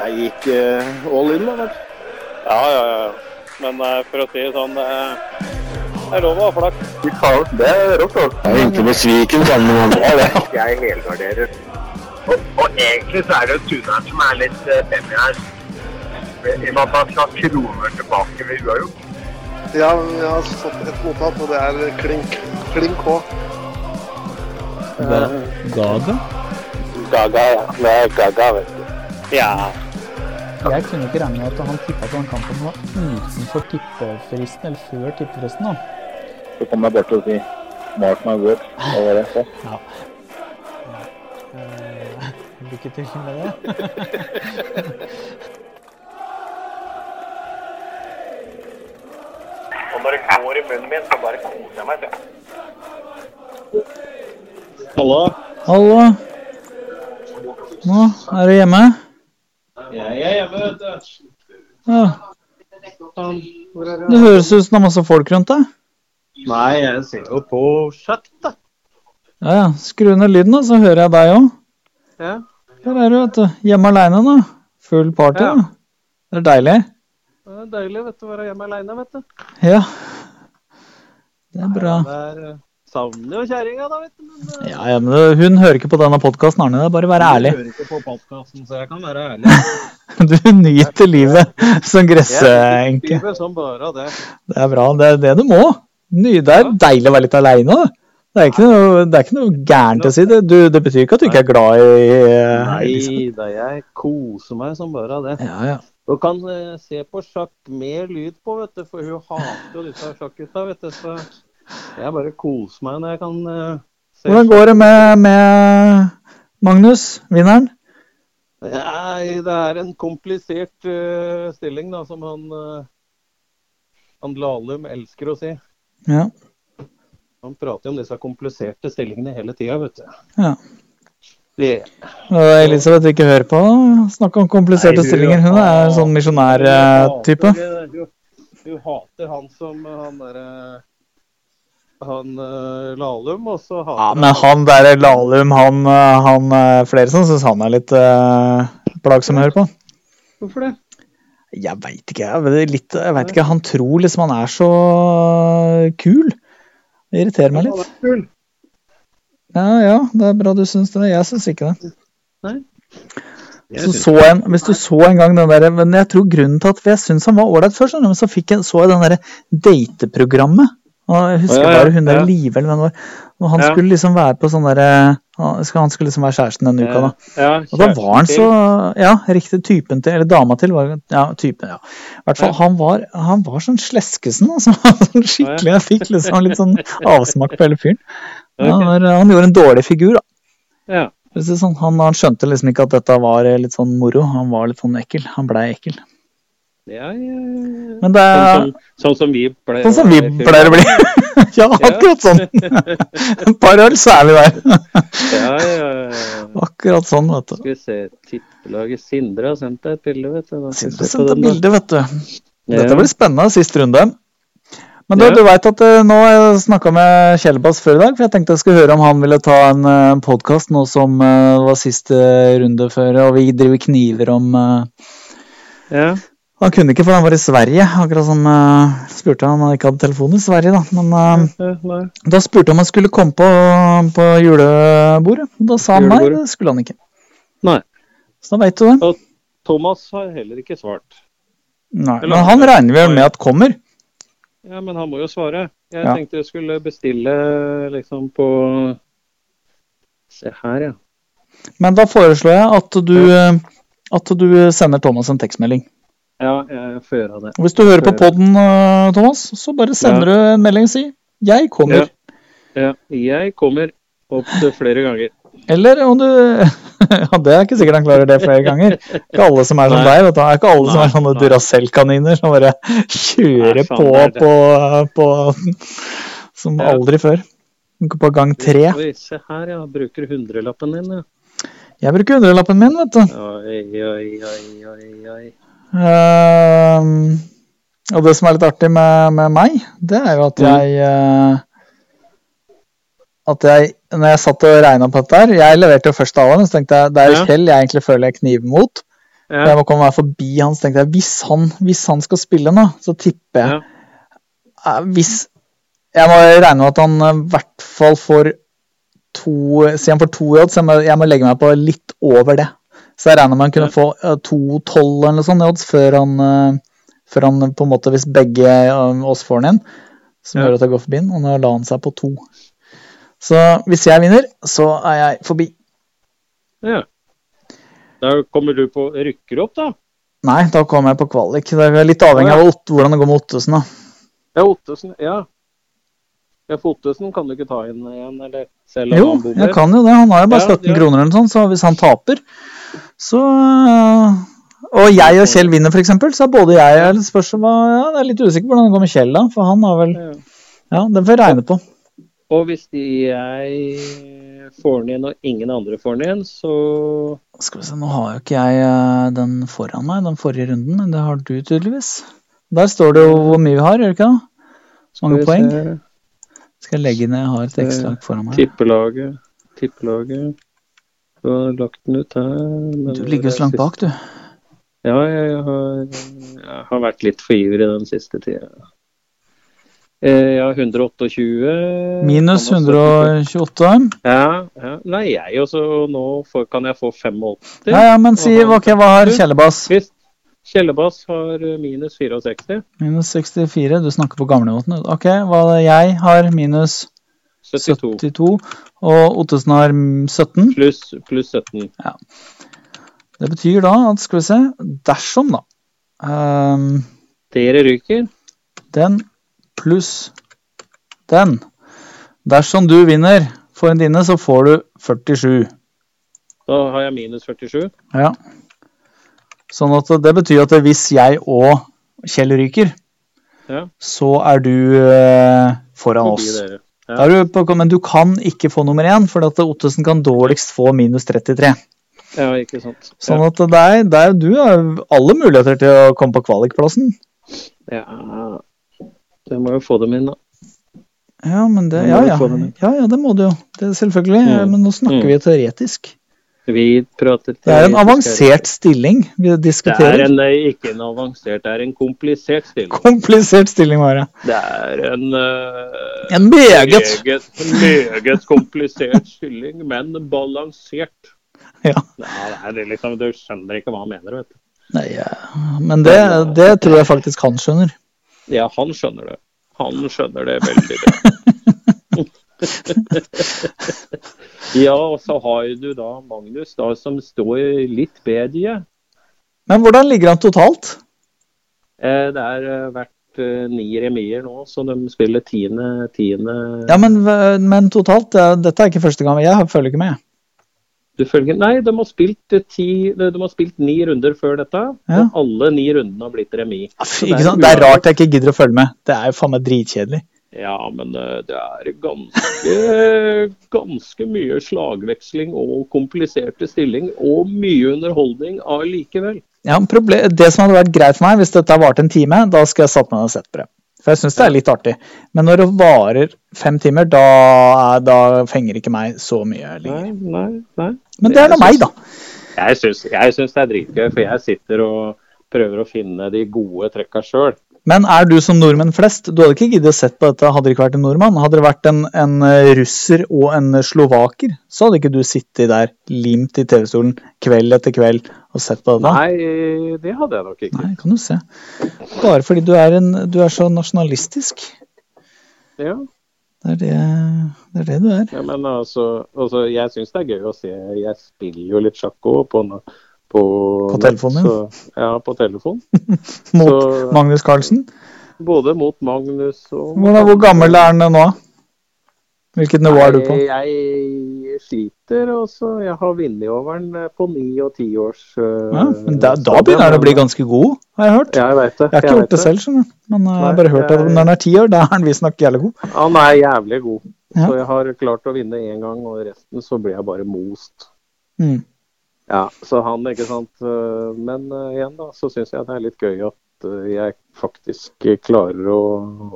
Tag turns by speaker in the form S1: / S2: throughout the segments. S1: Jeg gikk eh, all in, da. vel.
S2: Ja, ja, ja. Men eh, for å si det sånn, eh, det er lov å ha flaks.
S3: Fy faen, det er rått, altså.
S4: Jeg begynte med Sviken sammen med noen andre. det.
S3: Jeg helgarderer. Og, og egentlig så er det jo tuneren som er litt eh, femmer her. I og med at han skal ha kroner tilbake ved uavgjort.
S5: Ja, men jeg har fått et mottak, og det er klink. Klink K.
S6: Ga- Gaga?
S3: Gaga, ja. Det er Gaga, vet du.
S2: Ja.
S6: Jeg kunne ikke regne med at han tippa på den kampen som var utenfor tippefristen, eller før tippefristen. da.
S3: Så kommer jeg bort og sier Mark my words. Det var det. Så.
S6: Eh, Lykke til med det.
S3: Og når det går i munnen min, så bare koser jeg meg.
S2: Hallo?
S6: Hallo. Nå er du hjemme?
S2: Jeg er hjemme, vet du.
S6: Ja.
S5: Hvor er
S6: Det høres ut som det er masse folk rundt deg.
S2: Nei, jeg ser jo på chat, da.
S6: Ja, ja. Skru ned lyden, da, så hører jeg deg òg.
S2: Ja.
S6: Der er du, vet du. Hjemme aleine, da. Full party,
S2: Ja.
S6: da. Det er deilig.
S2: Det er deilig vet du, å være hjemme aleine, vet du.
S6: Ja. Det er bra.
S2: Det er, eh, savner jo kjerringa, da, vet du. Men eh,
S6: Ja, ja, men det- hun hører ikke på denne podkasten, Arne. Det er bare å være ærlig.
S2: Jeg hører ikke på podkasten, så jeg kan være ærlig.
S6: Du nyter livet som gressenke.
S2: Skriver som bare det.
S6: Det er bra. Det er det du må. Ny, det er deilig å være litt aleine. Det er ikke noe, det er ikke noe gærent å si. Det, du, det betyr ikke at du ikke er glad i eh, liksom.
S2: Nei da, jeg koser meg som bare det.
S6: Ja, ja.
S2: Du kan eh, se på sjakk med lyd på, vet du, for hun hater jo disse sjakkgutta, vet du. Så jeg bare koser meg når jeg kan eh, se.
S6: Hvordan går det med, med Magnus, vinneren?
S2: Nei, det er en komplisert eh, stilling, da, som han eh, han Lahlum elsker å si.
S6: Ja.
S2: Han prater jo om disse kompliserte stillingene hele tida, vet du.
S6: Ja.
S2: Det,
S6: Og Elisabeth ikke hører på. Snakke om kompliserte
S2: Nei, hun-
S6: stillinger. Hun er en sånn misjonærtype.
S2: Hun hater- hun- Hun hater han som eh, han derre Han eh, Lahlum, og så hater
S6: Ja, men han der Lahlum, han, eh, han eh, flere som syns han er litt eh, plagsom å høre på.
S2: Hvorfor det?
S6: Jeg veit ikke. Jeg vet, litt, jeg vet ikke. Han tror liksom han er så eh, kul. Det irriterer meg litt. Ja, ja, det er bra du syns det. Jeg syns ikke det. Så så en, hvis du så en gang den der, men jeg tror grunnen til at for jeg syns han var ålreit først, men så fikk jeg, så jeg den derre dateprogrammet. Og jeg husker
S2: Ja, ja,
S6: bare hun der
S2: ja.
S6: Live eller hvem det var. Og han
S2: Ja.
S6: skulle liksom være på sånn derre Han skal- han skulle liksom være kjæresten denne uka, da.
S2: Ja,
S6: Og da var han så Ja, riktig typen til, eller dama til, var Ja, typen, ja. I hvert fall,
S2: Ja.
S6: han var, han var sånn sleskesen, altså. Han var sånn skikkelig. Jeg fikk liksom litt sånn avsmak på hele fyren.
S2: Ok.
S6: Han, var, han gjorde en dårlig figur, da.
S2: Ja.
S6: For å si det Sånn, han, han skjønte liksom ikke at dette var eh, litt sånn moro. Han var litt sånn ekkel. Han blei ekkel.
S2: Ja, ja, ja.
S6: Men det er
S2: Sånn, som, sånn som vi pleier
S6: sånn som vi pleier å bli. ja, akkurat sånn. Et par øl, så er vi der.
S2: Ja, ja, ja.
S6: Akkurat sånn, vet du.
S2: Skal vi se Tippelaget Sindre har sendt deg et bilde, vet du. Da skal vi se
S6: Sindre
S2: på
S6: sendte
S2: den, da.
S6: bilde, vet du.
S2: Ja.
S6: Dette blir spennende, siste runde. Men du,
S2: Ja.
S6: du veit at eh, nå jeg snakka med Kjellbass før i dag, for jeg tenkte jeg skulle høre om han ville ta en uh, podkast nå som eh, det var siste runde før, og vi driver kniver om eh,
S2: Ja.
S6: Han kunne ikke, for han var i Sverige, akkurat som eh, spurte han han ikke hadde telefon i Sverige, da. Men eh,
S2: Ja, nei.
S6: da spurte han om han skulle komme på, på julebordet, og da sa han nei,
S2: Julebordet.
S6: det skulle han ikke.
S2: Nei.
S6: Så da veit du det.
S2: Thomas har heller ikke svart.
S6: Nei,
S2: Eller-
S6: men han regner vel med at kommer.
S2: Ja, men han må jo svare. Jeg
S6: Ja.
S2: tenkte jeg skulle bestille liksom på Se her, ja.
S6: Men da foreslår jeg at du, eh, at du sender Thomas en tekstmelding.
S2: Ja, jeg får gjøre det.
S6: Og Hvis du hører på
S2: Hører.
S6: poden, Thomas, så bare sender du en melding og sier 'jeg kommer'.
S2: Ja, jeg kommer opptil flere ganger.
S6: Eller om du Ja, det er ikke sikkert han klarer det flere ganger. Ikke alle som er som
S2: Nei.
S6: deg. vet du. Det er ikke alle som
S2: Nei,
S6: er sånne
S2: nei.
S6: Duracell-kaniner som bare kjører
S2: Nei, faen,
S6: på,
S2: det er det.
S6: på, på Som
S2: Ja.
S6: aldri før. På gang tre.
S2: Oi, se her, ja. Bruker hundrelappen din, ja.
S6: Jeg bruker hundrelappen min, vet du.
S2: Oi, oi, oi, oi, oi.
S6: Ehm, og det som er litt artig med, med meg, det er jo at jeg eh, At jeg, når jeg satt og regna på dette her Jeg leverte jo først avhånden, så tenkte jeg det er jo
S2: Ja.
S6: Kjell jeg egentlig føler jeg kniver mot.
S2: Ja.
S6: For Jeg må komme meg forbi han, så tenkte jeg hvis han, hvis han skal spille nå, så tipper jeg Eh, Hvis Jeg må regne med at han eh, i hvert fall får to Si han får to i odds, jeg må, jeg må legge meg på litt over det. Så jeg regner med han kunne få eh, 2-12 eller noe sånt i odds før han, eh, før han på en måte Hvis begge eh, oss får han inn, som
S2: Ja.
S6: gjør at jeg går forbi han, og nå la han seg på to. Så hvis jeg vinner, så er jeg forbi.
S2: Ja. Da kommer du på Rykker opp, da?
S6: Nei, da kommer jeg på kvalik. Det er litt avhengig av Ott- hvordan det går med Ottosen, da.
S2: Ja, Ottesen. Ja. ja, for Ottesen kan du ikke ta inn igjen, eller selv om
S6: Jo,
S2: han bommer?
S6: jeg kan jo det. Han har jo bare
S2: Ja,
S6: 17
S2: ja.
S6: kroner eller noe sånt, så hvis han taper, så øh, Og jeg og Kjell vinner, f.eks., så er både jeg og Eller spørs om hva- ja, Jeg er litt usikker på hvordan det går med Kjell, da. For han har vel
S2: Ja.
S6: Ja, den får jeg regne på.
S2: Og hvis jeg får den inn, og ingen andre får den inn, så
S6: Skal vi se, nå har jo ikke jeg øh, den foran meg, den forrige runden, men det har du tydeligvis. Der står det jo hvor mye vi har, gjør det ikke det? Så
S2: Skal
S6: mange
S2: vi
S6: poeng.
S2: se.
S6: Skal jeg legge inn jeg har et ekstralag foran meg.
S2: Tippelaget. Tippelaget. Du har lagt den ut her. men
S6: Du ligger jo så langt bak, du.
S2: Ja, jeg har, jeg har vært litt for ivrig den siste tida. Eh, Jeg har 128.
S6: Minus
S2: Han har
S6: 128.
S2: Ja, ja. Nei, jeg også. og Nå får, kan jeg få 85.
S6: Ja, ja, men si
S2: Og han-
S6: ok, hva har Kjellebass?
S2: Hvis Kjellebass har eh, minus 64,
S6: Minus 64. Du snakker på gamlemåten. du. Ok, hva er det jeg har? Minus
S2: 72
S6: 72. Og Ottesen har mm, 17.
S2: pluss pluss 17.
S6: Det betyr da at Skal vi se Dersom, da. ehm,
S2: Dere ryker.
S6: den pluss den. Dersom du vinner for en dine, så får du 47.
S2: Da har jeg minus 47.
S6: Ja. Sånn at det betyr at hvis jeg og Kjell ryker,
S2: Ja.
S6: så er du eh, foran
S2: Forbi
S6: oss.
S2: dere. Ja.
S6: Da er du på, men du kan ikke få nummer én, for at Ottesen kan dårligst få minus 33.
S2: Ja, ikke sant.
S6: Sånn at det er, det er, du har alle muligheter til å komme på kvalikplassen.
S2: Ja. ja. Jeg må jo få dem inn, da.
S6: Ja, men det,
S2: Da må
S6: ja,
S2: du
S6: ja.
S2: få den inn.
S6: ja, ja, det må du jo. Det er selvfølgelig.
S2: Mm.
S6: Men nå snakker
S2: Mm.
S6: vi teoretisk.
S2: Vi prater
S6: Det er en avansert stilling vi
S2: Det er
S6: diskuterer.
S2: en, eh, ikke en avansert, det er en komplisert stilling.
S6: Komplisert stilling, bare.
S2: Det er en eh,
S6: En meget
S2: meget, meget komplisert stilling, men balansert.
S6: Ja.
S2: Nei, det er det liksom, du skjønner ikke hva han mener, vet du.
S6: Nei, ja. Men det, det tror jeg faktisk han skjønner.
S2: Ja, han skjønner det. Han skjønner det veldig bra. ja, og så har du da Magnus, da, som står litt bedre.
S6: Men hvordan ligger han totalt?
S2: Eh, det har eh, vært eh, ni remier nå, så de spiller tiende, tiende
S6: Ja, men, men totalt? det er- Dette er ikke første gang. Jeg følger ikke med.
S2: Du følger Nei, de har spilt, eh, ti, de har spilt ni runder før dette.
S6: Ja.
S2: Og alle ni rundene har blitt remis.
S6: Ja, fy, Ikke sant? Altså, Det er rart jeg ikke gidder å følge med. Det er jo faen meg dritkjedelig.
S2: Ja, men eh, det er ganske, ganske mye slagveksling og kompliserte stilling, og mye underholdning allikevel.
S6: Ja, men proble- det som hadde vært greit for meg, hvis dette varte en time, da skulle jeg satt meg ned og sett på det. For jeg syns det er litt artig. Men når det varer fem timer, da, er- da fenger ikke meg så mye lenger.
S2: Nei, nei, nei.
S6: Men det er da meg, da.
S2: Jeg syns, jeg syns det er dritgøy, for jeg sitter og prøver å finne de gode trekka sjøl.
S6: Men er du som nordmenn flest? Du hadde ikke giddet å sett på dette hadde det ikke vært en nordmann. Hadde det vært en, en eh, russer og en slovaker, så hadde ikke du sittet der limt i TV-stolen kveld etter kveld og sett på dette.
S2: Nei, det hadde jeg nok ikke.
S6: Nei, kan du se. Bare fordi du er, en, du er så nasjonalistisk.
S2: Ja,
S6: Det er det, det, er det du er.
S2: ja men altså, altså Jeg syns det er gøy å se. Jeg spiller jo litt sjakk òg på, na- på
S6: På telefonen, ja.
S2: så- ja. På telefon.
S6: Mot
S2: Så-
S6: Magnus Carlsen.
S2: Både mot Magnus og
S6: Hvor, hvor gammel er han nå? Hvilket nivå er du på?
S2: Nei, Eh, Jeg sliter, og så jeg har vunnet over den på ni- og eh, tiårs
S6: Ja, men da, da begynner han å bli ganske god, har jeg hørt.
S2: Ja, jeg veit det.
S6: Jeg har ikke
S2: jeg vet
S6: gjort det selv, skjønner du. Men eh, jeg har bare hørt at når han er ti år, da er han visstnok jævlig god.
S2: Han er jævlig god.
S6: Ja.
S2: Så jeg har klart å vinne én gang, og resten så blir jeg bare most. eh,
S6: Mm.
S2: Ja, Så han, ikke sant. øh, Men øh, igjen, da, så syns jeg det er litt gøy at at eh, jeg faktisk klarer å,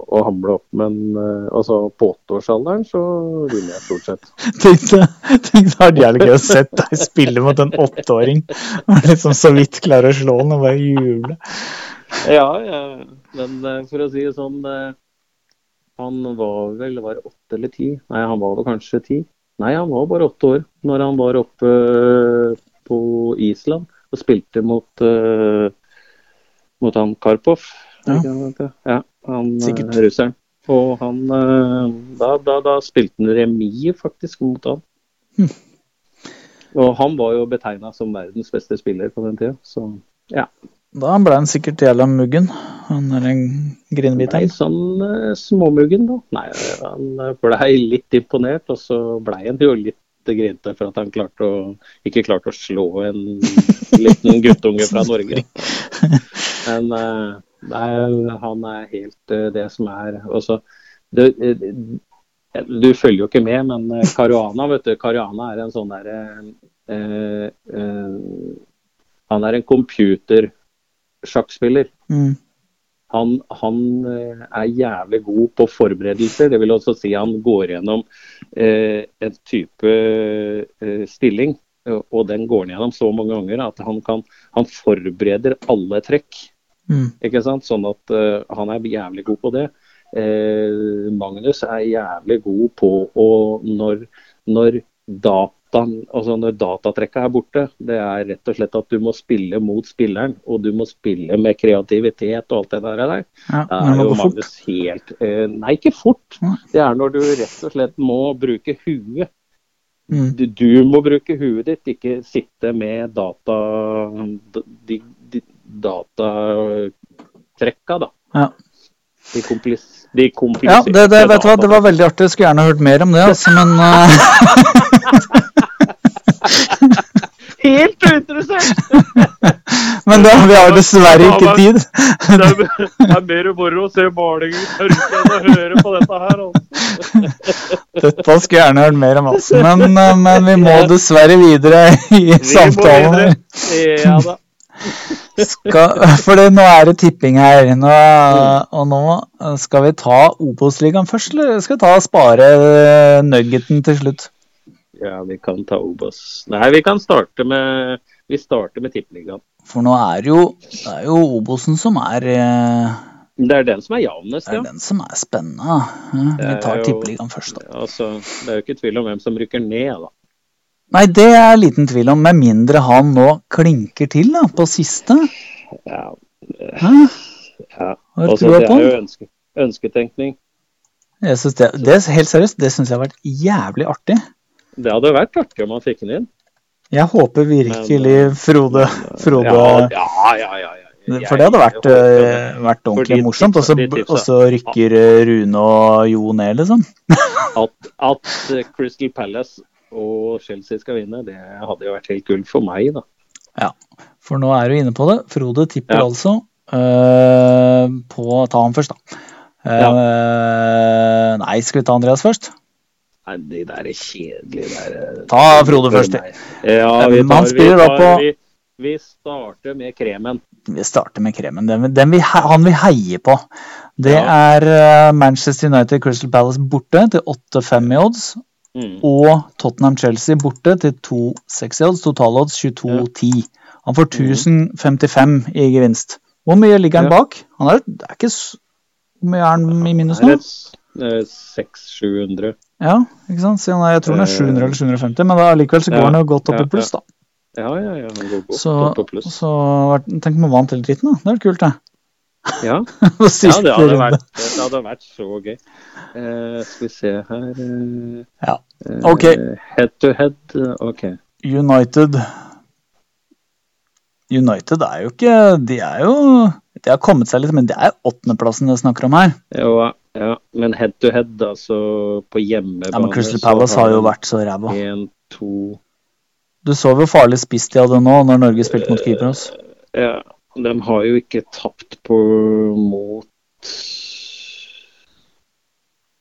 S2: å hamle opp. Men eh, altså, på åtteårsalderen så vinner jeg stort sett.
S6: Tenk deg tenk deg, det hadde vært jævlig gøy å sett deg spille mot en åtteåring. Og liksom så vidt klarer å slå den og bare juble.
S2: Ja, jeg- men eh, for å si det sånn eh, Han var vel var det åtte eller ti? Nei, han var vel kanskje ti. Nei, han var bare åtte år når han var oppe eh, på Island og spilte mot, eh, mot han Karpov. Er det ikke han heter? ja han eh,
S6: Sikkert.
S2: russeren. Og han eh, da, da, da spilte han remis faktisk mot han.
S6: Hm.
S2: Og han var jo betegna som verdens beste spiller på den tida, så
S6: Da ble han sikkert jævla muggen. Han er en
S2: Blei
S6: grinebiteren.
S2: sånn eh, småmuggen, da. Nei, han eh, blei litt imponert, og så blei han jo litt grinte for at han klarte å, ikke klarte å slå en liten guttunge fra Norge. Men eh, nei, han er helt eh, det som er også, det, eh, Du følger jo ikke med, men eh, Caruana, vet du. Caruana er en sånn derre eh, eh, Han er en computersjakkspiller
S6: Mm.
S2: han, han eh, er jævlig god på forberedelser. Det vil også si han går gjennom eh, en type eh, stilling, og og den går han gjennom så mange ganger at han, kan, han forbereder alle trekk.
S6: Mm.
S2: Ikke sant? Sånn at eh, han er jævlig god på det. Eh, Magnus er jævlig god på å når, når dataen Altså når datatrekka er borte, det er rett og slett at du må spille mot spilleren, og du må spille med kreativitet og alt det der. der.
S6: Ja,
S2: Det
S6: men
S2: er jo
S6: det var fort.
S2: Magnus helt eh, Nei, ikke fort.
S6: Nei.
S2: Det er når du rett og slett må bruke huet.
S6: Mm.
S2: Du, du må bruke huet ditt, ikke sitte med data de, de, datatrekka, da.
S6: Ja.
S2: De, komplis, de
S6: Ja,
S2: kompliserte
S6: det, det, vet du hva, det
S2: dataene.
S6: var veldig artig. Jeg skulle gjerne hørt mer om det, altså, men eh,
S2: Helt uinteressant!
S6: Men da, vi har dessverre ikke tid.
S2: Det er, det er mer moro å se malinger tørke enn å høre på dette her. altså.
S6: Dette skulle jeg gjerne hørt mer om, altså. Men, eh, men vi må dessverre videre i
S2: Vi må
S6: samtalen.
S2: videre. Ja da.
S6: Skal, for nå er det tipping her. Nå,
S2: Mm.
S6: og nå eh, skal vi ta Obos-ligaen først, eller skal vi ta og spare eh, nuggeten til slutt?
S2: Ja, vi kan ta Obos. Nei, vi kan starte med Vi starter med Tippeligaen.
S6: For nå er det jo, det er jo Obosen som er, eh,
S2: Det er den som er jevnest,
S6: er
S2: ja.
S6: den som er spennende. eh. Vi
S2: Det er
S6: tar
S2: jo-
S6: tippeligaen først, da.
S2: Altså, det er jo ikke tvil om hvem som rykker ned, da.
S6: Nei, det er liten tvil om, med mindre han nå klinker til da, på siste.
S2: Ja,
S6: Hæ?
S2: ja.
S6: Har du
S2: Altså,
S6: trua
S2: det
S6: på
S2: er jo
S6: han?
S2: ønske, ønsketenkning.
S6: Jeg synes det, det, er helt seriøst, det syns jeg har vært jævlig artig.
S2: Det hadde vært artig om han fikk den inn.
S6: Jeg håper virkelig Frode, Frode
S2: eh, Ja, ja, ja. ja, ja. Jeg-
S6: For det hadde vært,
S2: jeg håper det.
S6: eh, vært ordentlig
S2: Fordi
S6: morsomt. og så-
S2: tipsa- de tipsa.
S6: Og så rykker eh, Rune og Jo ned, liksom.
S2: At, at eh, Crystal Palace og Chelsea skal vinne, det hadde jo vært helt gull for meg, da.
S6: For nå er du inne på det. Frode tipper
S2: Ja.
S6: altså eh, på Ta han først, da. Eh, Nei, skal vi ta Andreas først?
S2: Nei, de der er kjedelige der. eh,
S6: Ta Frode først.
S2: Ja, vi,
S6: Men
S2: tar,
S6: han spiller
S2: vi,
S6: da
S2: tar,
S6: på-
S2: vi, vi starter med kremen.
S6: Vi starter med kremen. Den, vi- den vi, he- han vi heier på. Det er eh, Manchester United Crystal Palace borte til 8-5 i odds.
S2: Mm.
S6: og Tottenham Chelsea borte til 2,60 odds. Totalodds 22,10. Han får 1055 i gevinst. Hvor mye ligger han
S2: Mm. Ja.
S6: bak? Han er, det er ikke s- Hvor mye er han i minus nå?
S2: Det er et, eh, 600-700.
S6: Ja, ikke sant? Så han er, jeg tror han er
S2: Eh,
S6: 700 eller 750, men da likevel så går
S2: ja,
S6: han jo godt opp
S2: ja,
S6: i pluss, da.
S2: Ja, ja, ja. han går godt
S6: Så,
S2: opp på pluss.
S6: så vært- tenk om han vant hele dritten, da. Det hadde vært kult, det.
S2: Ja,
S6: På
S2: ja
S6: siste
S2: det, hadde
S6: runde.
S2: vært, det hadde vært så gøy. Eh, skal vi se her eh,
S6: Ja.
S2: eh,
S6: Ok.
S2: Head to head. eh, OK.
S6: United United er jo ikke De er jo De har kommet seg litt, men det er åttendeplassen jeg snakker om her.
S2: Ja, ja, men head to head, altså på hjemmebane
S6: Ja, men Crystal
S2: så
S6: Palace har jo vært så ræva.
S2: En, to
S6: Du så hvor farlig spiss de hadde nå, når Norge spilte
S2: Eh.
S6: mot Kypros.
S2: Ja, de har jo ikke tapt på mot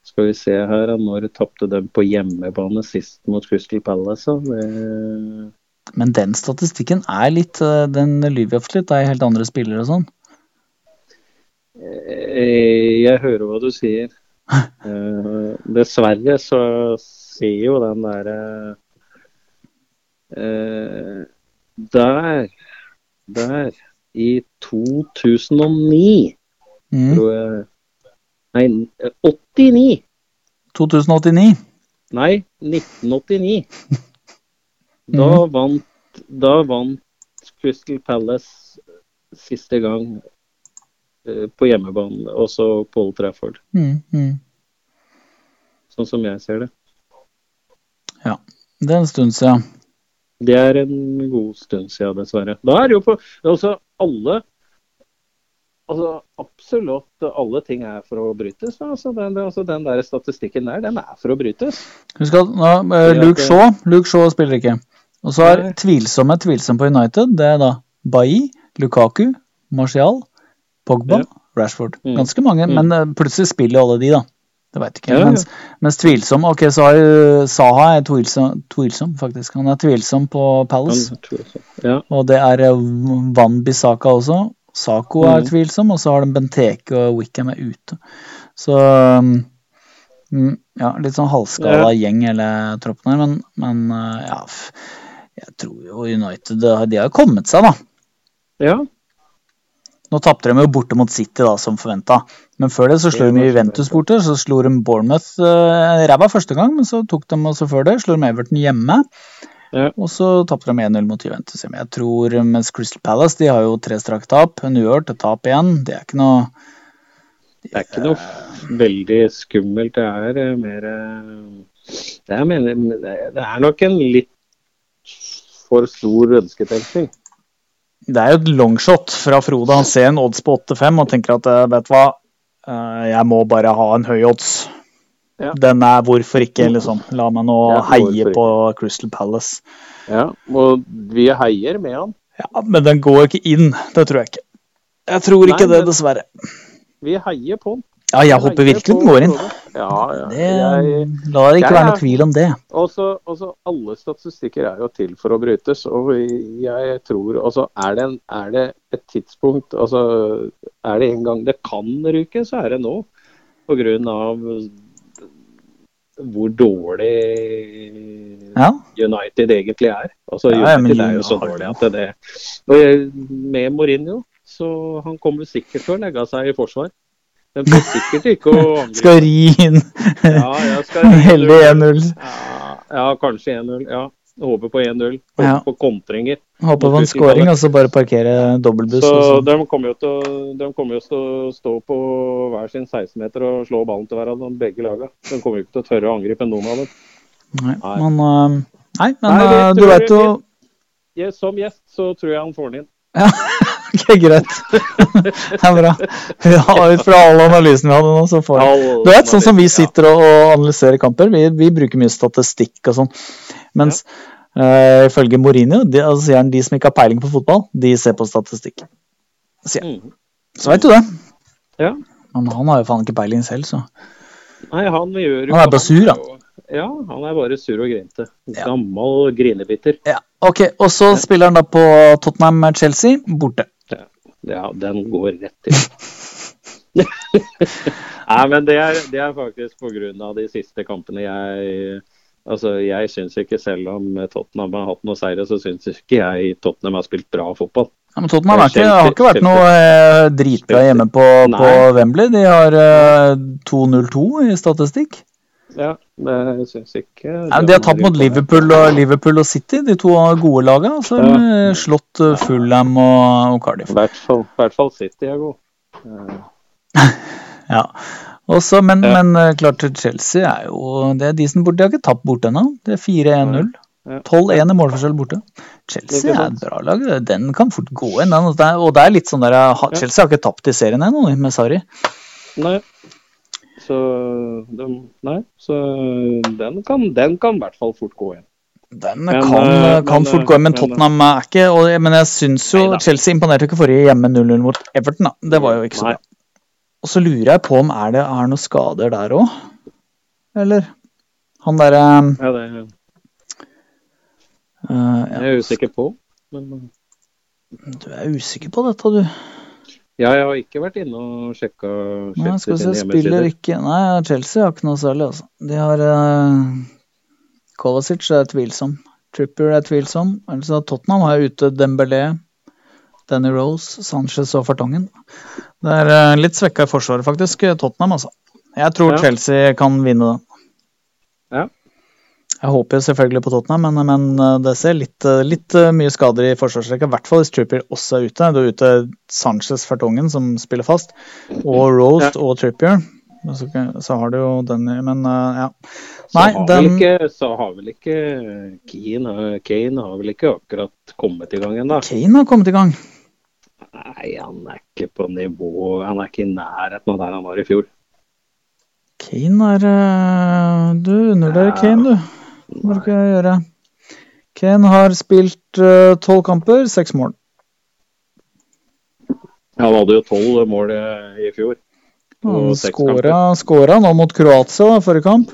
S2: Skal vi se her, da, når tapte de på hjemmebane sist mot Crystal Palace? da? Det-
S6: Men den statistikken er litt eh, Den lyver ofte litt. Det er helt andre spillere og sånn.
S2: Eh, Jeg hører hva du sier. Eh, Dessverre så sier jo den derre eh, Der. Der. I 2009,
S6: Mm.
S2: tror jeg Nei, 89.
S6: 2089.
S2: Nei, 1989. Da vant, da vant Crystal Palace siste gang eh, på hjemmebane, også Paul Trafford.
S6: Mm, mm.
S2: sånn som jeg ser det.
S6: Det er en stund siden.
S2: Det er en god stund siden, dessverre. Da er det jo på Altså, alle Altså, absolutt alle ting er for å brytes. da. Altså, den, altså, den der statistikken der, den er for å brytes.
S6: Husk at nå, eh,
S2: Ja,
S6: Luke
S2: det-
S6: Shaw Luke Shaw spiller ikke. Og så er
S2: Nei.
S6: tvilsomme tvilsomme på United. Det er da Bailly, Lukaku, Martial, Pogba,
S2: Ja.
S6: Rashford.
S2: Mm.
S6: Ganske mange,
S2: Mm.
S6: men eh, plutselig spiller jo alle de, da. Det veit ikke.
S2: Ja, ja.
S6: Mens, mens tvilsom Ok, så har jo Saha er tvilsom, tvilsom, faktisk. Han er tvilsom på Palace.
S2: Men, tror jeg så. Ja.
S6: Og det er eh, Van Bissaka også. Sako er
S2: Mhm.
S6: tvilsom, og så har de Benteke og Wickham er ute. Så um, mm, ja, litt sånn halvskala gjeng hele troppen her, men, men uh, ja f- Jeg tror jo United det har- De har jo kommet seg, da.
S2: ja.
S6: Nå tapte de jo borte mot City, da, som forventa. Men før det så slo
S2: Det var
S6: de Juventus
S2: forventet.
S6: borte, så slo de Bournemouth eh, ræva første gang, men så tok de også før det, slo de Everton hjemme.
S2: Ja.
S6: Og så tapte de 1-0 mot Juventus hjemme. Jeg tror, eh, Mens Crystal Palace de har jo tre strake tap, en uørt, et tap igjen. Det er ikke noe
S2: Det er ikke noe f- veldig skummelt. Det er eh, mer eh, det er, mener, det er nok en litt for stor ønsketenkning.
S6: Det er jo et longshot fra Frode. Han ser en odds på 8-5 og tenker at eh, vet du hva, eh, jeg må bare ha en høy odds.
S2: Ja.
S6: Den er hvorfor ikke, liksom. La meg nå
S2: Ja,
S6: heie
S2: hvorfor
S6: på Crystal Palace.
S2: Ja, og vi heier med han.
S6: Ja, Men den går ikke inn, det tror jeg ikke. Jeg tror ikke
S2: Nei,
S6: det,
S2: men-
S6: dessverre.
S2: Vi heier på han.
S6: Ja, jeg håper virkelig den går inn.
S2: Ja, ja.
S6: Det,
S2: Jeg,
S6: la det ikke
S2: jeg-
S6: være noe tvil om det.
S2: også, også alle statistikker er jo til for å brytes. Og jeg tror altså, er, det en, er det et tidspunkt altså, Er det en gang det kan ryke, så er det nå. Pga. hvor dårlig
S6: Ja,
S2: United egentlig er. Altså,
S6: Ja, ja, men
S2: United er jo så
S6: United-
S2: dårlig at det Og jeg- Med Mourinho, så han kommer sikkert til å legge seg i forsvar. Den blir sikkert ikke å angripe.
S6: Skal ri inn
S2: Ja, jeg skal
S6: heldig 1-0.
S2: Ja, ja, kanskje 1-0. Ja. Håper på 1-0. Håper
S6: Ja.
S2: på kontringer.
S6: Håper på en scoring, og så bare parkere dobbeltbuss. altså.
S2: Så
S6: og så-
S2: de kommer jo til å, de kommer jo til å stå på hver sin 16-meter og slå ballen til hverandre, begge laga. De kommer jo ikke til å tørre å angripe noen av dem.
S6: Nei,
S2: Nei.
S6: men, eh, nei, men
S2: Nei, det
S6: eh, du
S2: tror jeg
S6: veit jo
S2: Jeg, som gjest så tror jeg han får den inn.
S6: Ok, greit. Det er bra. Ja, ut fra alle analysene vi hadde nå, så får jeg Du vet, sånn som vi sitter og og analyserer kamper, vi, vi bruker mye statistikk og sånn. Mens eh, ifølge Mourinho, de, altså, sier han de som ikke har peiling på fotball, de ser på statistikk.
S2: Ja. Mm.
S6: Så veit du det.
S2: Ja.
S6: Men han har jo faen ikke peiling selv, så
S2: Nei, han gjør jo
S6: Han er bare sur, han.
S2: Ja, han er bare sur og grinte.
S6: Ja.
S2: Gammel grinebiter.
S6: ja. Ok, og så spiller han da på Tottenham-Chelsea, borte.
S2: Ja, den går rett til. Nei, men det er, det er faktisk pga. de siste kampene jeg Altså, jeg syns ikke, selv om Tottenham har hatt noen seire, så syns ikke jeg Tottenham har spilt bra fotball.
S6: Ja, men Tottenham har ikke,
S2: Chelsea-
S6: har ikke vært noe eh, dritbra hjemme på, på
S2: Nei.
S6: Wembley. De har eh, 2-0-2 i statistikk.
S2: Ja, det syns ikke
S6: Nei, men de har tapt mot Liverpool og, Liverpool og City, de to gode lagene. Så har de slått eh, Fulham og, og Cardiff.
S2: I hvert fall, i hvert fall City er god.
S6: Ja. Og så- men,
S2: Ja.
S6: men eh, klart Chelsea er jo det er de som borte. De har ikke tapt borte ennå. Det er 4-1-0.
S2: Ja.
S6: 12-1 i målforskjell borte. Chelsea
S2: Ikke
S6: er et
S2: sant.
S6: bra lag. Den kan fort gå inn. Den. Og det er- Og det er litt sånn der, ha-
S2: Ja.
S6: Chelsea har ikke tapt i serien ennå, med Sarri.
S2: Nei. Så de, Nei, så den kan, den kan i hvert fall fort gå igjen.
S6: Den
S2: Men,
S6: kan,
S2: eh,
S6: kan
S2: men,
S6: fort
S2: eh,
S6: gå, men
S2: men,
S6: Tottenham er ikke og, Men jeg syns jo
S2: Neida.
S6: Chelsea imponerte jo ikke forrige hjemme 0-0 mot Everton. da. Det var jo ikke så
S2: Nei.
S6: bra. Og så lurer jeg på om er det er noen skader der òg? Eller? Han derre
S2: Ja, det er
S6: eh, ja,
S2: jeg usikker på. Men
S6: Du er usikker på dette, du.
S2: Ja, jeg har ikke vært inne og sjekka Chelsea
S6: Nei, skal vi se,
S2: sine
S6: spiller
S2: hjemmesider.
S6: ikke Nei, Chelsea har ikke noe særlig, altså. De har eh, Kovacic er tvilsom. Trippier er tvilsom. Altså, Tottenham har jo ute Dembélé, Danny Rose, Sanchez og Fartongen. Det er eh, litt svekka i forsvaret, faktisk, Tottenham, altså. Jeg tror
S2: Ja.
S6: Chelsea kan vinne den.
S2: Ja.
S6: Jeg håper jo selvfølgelig på Tottenham, men, men eh, det ser litt, eh, litt eh, mye skader i forsvarsrekka. I hvert fall hvis Trippier også er ute. Du er ute Sanchez Fartongen, som spiller fast, og
S2: Mm.
S6: Rose og Trippier. Men Så, så har du jo den i- Men eh, ja.
S2: Så
S6: Nei,
S2: har
S6: den
S2: vel ikke, så har vel ikke Keane, eh, Kane har vel ikke akkurat kommet i gang ennå?
S6: Kane har kommet i gang.
S2: Nei, han er ikke på nivå Han er ikke i nærheten av der han var i fjor.
S6: Kane er eh, Du undervurderer Kane, du. Det må du ikke gjøre. Kane har spilt eh, tolv kamper, seks mål.
S2: Han hadde jo tolv mål eh, i fjor.
S6: Han
S2: Og seks kamper.
S6: skåra, skåra nå mot Kroatia da, forrige kamp.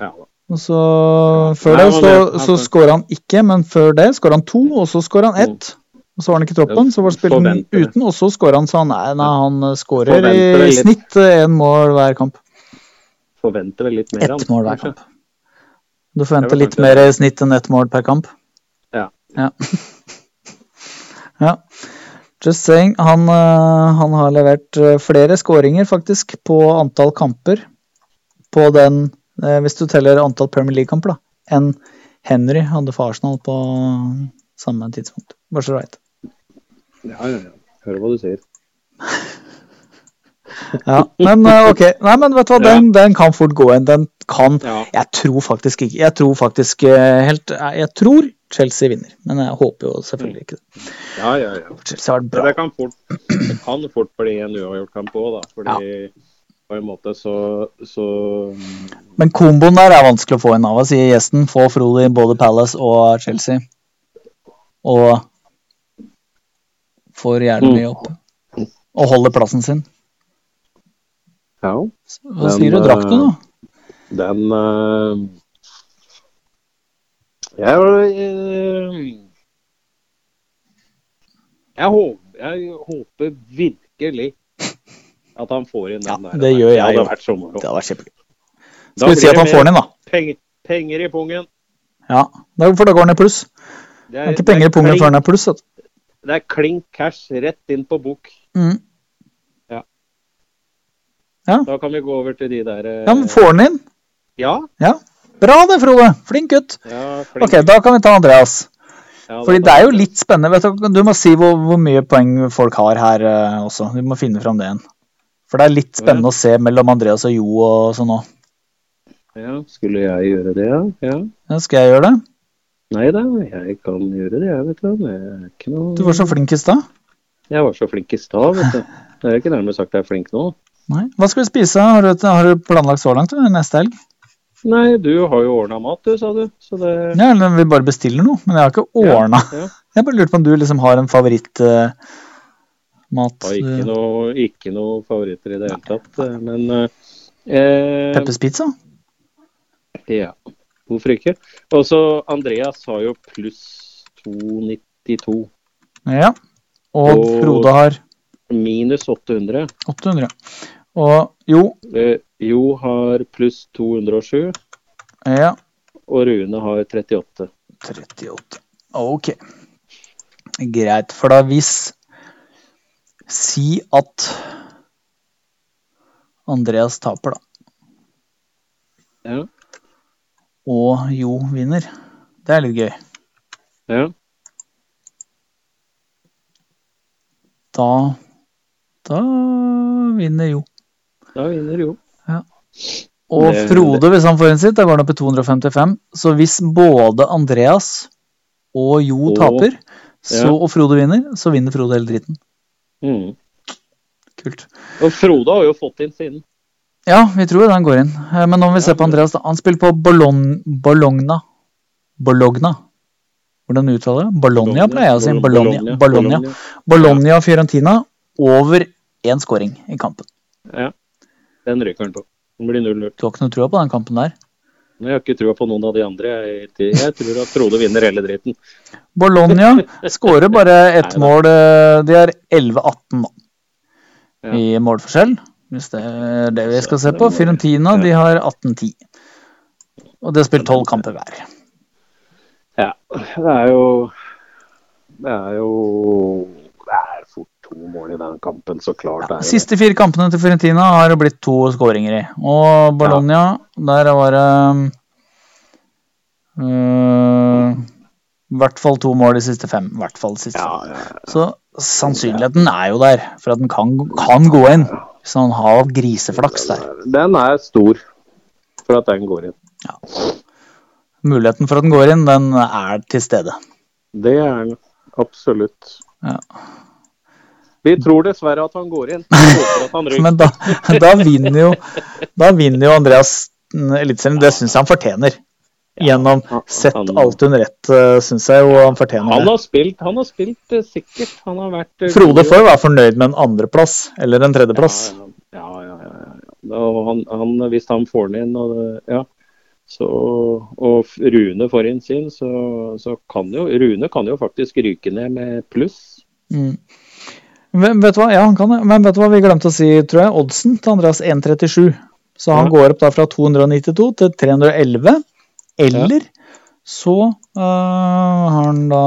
S2: Ja, da.
S6: Og så Før
S2: Nei, Oh.
S6: det
S2: han
S6: så,
S2: var det.
S6: så skåra han ikke, men før det skåra han to, og så skåra han ett. Og så var han ikke i troppen, så var det spilt den
S2: Forventer det.
S6: uten, og så skåra han, så han, nei, nei, han eh, skårer
S2: Forventer
S6: i
S2: det litt.
S6: snitt én mål hver kamp.
S2: Forventer vel litt mer
S6: Ett mål hver
S2: kanskje.
S6: kamp. Du forventer
S2: Det var
S6: litt
S2: kanskje-
S6: mer i snitt enn ett mål per kamp?
S2: Ja.
S6: Ja. ja. Just saying. Han, eh, han har levert eh, flere skåringer, faktisk, på antall kamper på den eh, Hvis du teller antall Premier League-kamper, da, enn Henry hadde for Arsenal på samme tidspunkt. Bare så du vet.
S2: Ja, ja, ja. Hører hva du sier.
S6: Ja. Men eh, ok. Nei, men vet du hva,
S2: Ja.
S6: den, den kan fort gå inn. Den kan
S2: Ja.
S6: Jeg tror faktisk ikke Jeg tror faktisk eh, helt Jeg tror Chelsea vinner, men jeg håper jo selvfølgelig ikke det.
S2: Ja, ja, ja.
S6: Chelsea har vært
S2: Men
S6: bra.
S2: det kan fort, det kan fort bli en uavgjort-kamp òg, da. Fordi på en måte så, så
S6: Men komboen der er vanskelig å få inn av, sier gjesten. Få Frode i både Palace og Chelsea. Og får
S2: Mm.
S6: jævlig mye opp. Og holder plassen sin.
S2: Ja.
S6: Hva sier du? Drakk du
S2: eh,
S6: nå?
S2: Den eh, Jeg var eh, jeg, håper, jeg håper virkelig at han får inn den
S6: Ja,
S2: der.
S6: det gjør jeg
S2: hadde
S6: jo.
S2: vært så moro.
S6: Det hadde vært kjempegøy.
S2: Da
S6: Skal vi si
S2: blir
S6: at han
S2: det
S6: får den inn, da?
S2: Penger, penger i pungen.
S6: Ja. Da- For da går den i pluss.
S2: Det
S6: Det er ikke penger i pungen
S2: klink-
S6: før den er pluss. altså. vet du.
S2: Det er klink cash rett inn på bok.
S6: Mm.
S2: Da kan vi gå over til de der eh,
S6: Ja, men får den inn?
S2: ja,
S6: Bra det, Frode. Flink gutt.
S2: ja, flink.
S6: Ok, da kan vi ta Andreas.
S2: Ja,
S6: Fordi
S2: da-
S6: det er jo litt spennende. Vet du, du må si hvor, hvor mye poeng folk har her eh, også. Du må finne fram det igjen. For det er litt spennende å se mellom Andreas og Jo og sånn òg.
S2: ja, Skulle jeg gjøre det, ja? ja.
S6: Skal jeg gjøre det?
S2: Nei da, jeg kan gjøre det, jeg, vet du. Det er ikke noe
S6: Du var så flink i stad.
S2: Jeg var så flink i stad, vet du. Det er ikke nærmere sagt jeg er flink nå.
S6: Nei. Hva skal vi spise? Har du, har du planlagt så langt? eller? Neste helg?
S2: Nei, du har jo ordna mat, du, sa du. Så det
S6: Ja, eller vi bare bestiller noe. Men jeg har ikke ordna.
S2: Ja, ja.
S6: Jeg bare lurte på om du liksom har en eh, favorittmat.
S2: var
S6: eh,
S2: ikke noe, ikke noe favoritter i det hele tatt. eh, Men eh,
S6: Peppers pizza?
S2: Ja, hvorfor ikke? Og så Andreas har jo pluss 292.
S6: Ja. Og
S2: Og-
S6: Frode har
S2: Minus 800.
S6: 800. Og Jo.
S2: Eh, jo har pluss 207,
S6: Ja.
S2: og Rune har 38.
S6: 38. Ok. Greit, for da hvis Si at Andreas taper, da.
S2: Ja.
S6: Og Jo vinner. Det er litt gøy.
S2: Ja.
S6: Da Da vinner Jo.
S2: Da vinner Jo.
S6: Og
S2: Det-
S6: Frode, hvis han får inn sitt, da går han opp i 255. Så hvis både Andreas og Jo
S2: Og-
S6: taper, så,
S2: Ja.
S6: og Frode vinner, så vinner Frode hele dritten.
S2: Mm.
S6: Kult.
S2: Og Frode har jo fått inn siden.
S6: Ja, vi tror jo den går inn. Eh, Men nå må vi se på Andreas. da. Han spiller på Bologn- Bologna. Bologna. Hvordan uttaler jeg det? Bologna, pleier jeg å si. Bologna. Bologna, Bologna og Fiorentina over én scoring i kampen.
S2: Den ryker han på. Den blir 0-0.
S6: Du har ikke noe trua på den kampen der?
S2: Men Jeg har ikke trua på noen av de andre. Jeg, jeg tror at Frode vinner hele dritten.
S6: Bologna skårer bare ett
S2: Nei da.
S6: mål. eh, De har 11-18 nå.
S2: Ja.
S6: i målforskjell. Hvis det er det vi skal se på. Fiorentina de har 18-10. Og de har spilt tolv kamper hver.
S2: Ja, det er jo Det er jo Det er fort to mål i den kampen, så klart.
S6: Ja,
S2: er det.
S6: siste fire kampene til Fiorentina har det blitt to skåringer i. Og Bologna, der var det mm, øh, I hvert fall to mål de siste fem. I hvert fall de siste
S2: Ja,
S6: fem.
S2: ja,
S6: Så sannsynligheten er jo der for at den kan, kan gå inn. Hvis han har griseflaks der.
S2: Den er stor for at den går inn.
S6: Muligheten for at den går inn, den er til stede.
S2: Det er den absolutt.
S6: Ja.
S2: Vi tror dessverre at han går inn. Vi håper at han ryker.
S6: Men da, da vinner jo Da vinner jo Andreas mm, Eliteserien. Det syns jeg han fortjener. Gjennom
S2: han-
S6: sett
S2: han-
S6: alt under ett, syns jeg jo han fortjener
S2: Han
S6: det.
S2: har spilt, han har spilt eh, sikkert. Han har vært eh,
S6: Frode
S2: god.
S6: får være fornøyd med en andreplass eller en tredjeplass.
S2: Ja, ja, ja. ja, ja, ja. Og han, han, hvis han får den inn, og, det- ja. så, og Rune får inn sin, så, så kan jo Rune kan jo faktisk ryke ned med pluss.
S6: Mm. Men vet du hva? Ja, han kan det. Men vet du hva vi glemte å si, tror jeg? Oddsen til Andreas 1,37. Så
S2: Ja.
S6: han går opp da fra 292 til 311. Eller så øh, har han da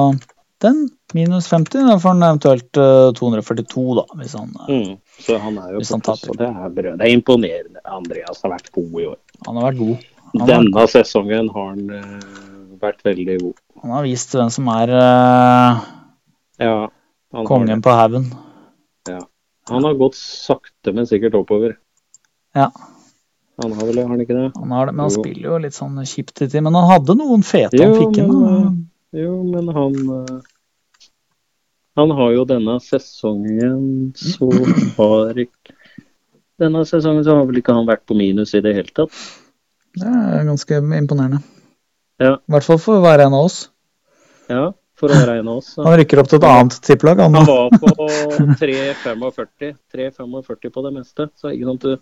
S6: den, minus 50. Da får han eventuelt øh, 242, da, hvis han øh,
S2: Mm. Så han er jo
S6: Hvis han
S2: på pluss,
S6: taper.
S2: og det er, brød. det er imponerende. Andreas har vært god i år.
S6: Han har vært god. Han har,
S2: Denne sesongen har han eh, vært veldig god.
S6: han har vist hvem som er øh,
S2: Ja, han har det.
S6: kongen på haugen.
S2: Han har gått sakte, men sikkert oppover.
S6: Ja.
S2: Han har vel det, har han ikke det?
S6: Han har det, men han
S2: Jo.
S6: spiller jo litt sånn kjipt til tider. Men han hadde noen fete han
S2: Jo,
S6: fikk inn.
S2: men, eh,
S6: da.
S2: Jo, men han eh, Han har jo denne sesongen så har ikke Denne sesongen så har vel ikke han vært på minus i det hele tatt.
S6: Det er ganske imponerende.
S2: Ja.
S6: I hvert fall for å være en av oss.
S2: Ja, for å være en av oss. så.
S6: Han rykker opp til et annet tippelag. Han,
S2: Han
S6: nå.
S2: var på 3,45 3,45 på det meste. Så ikke sant du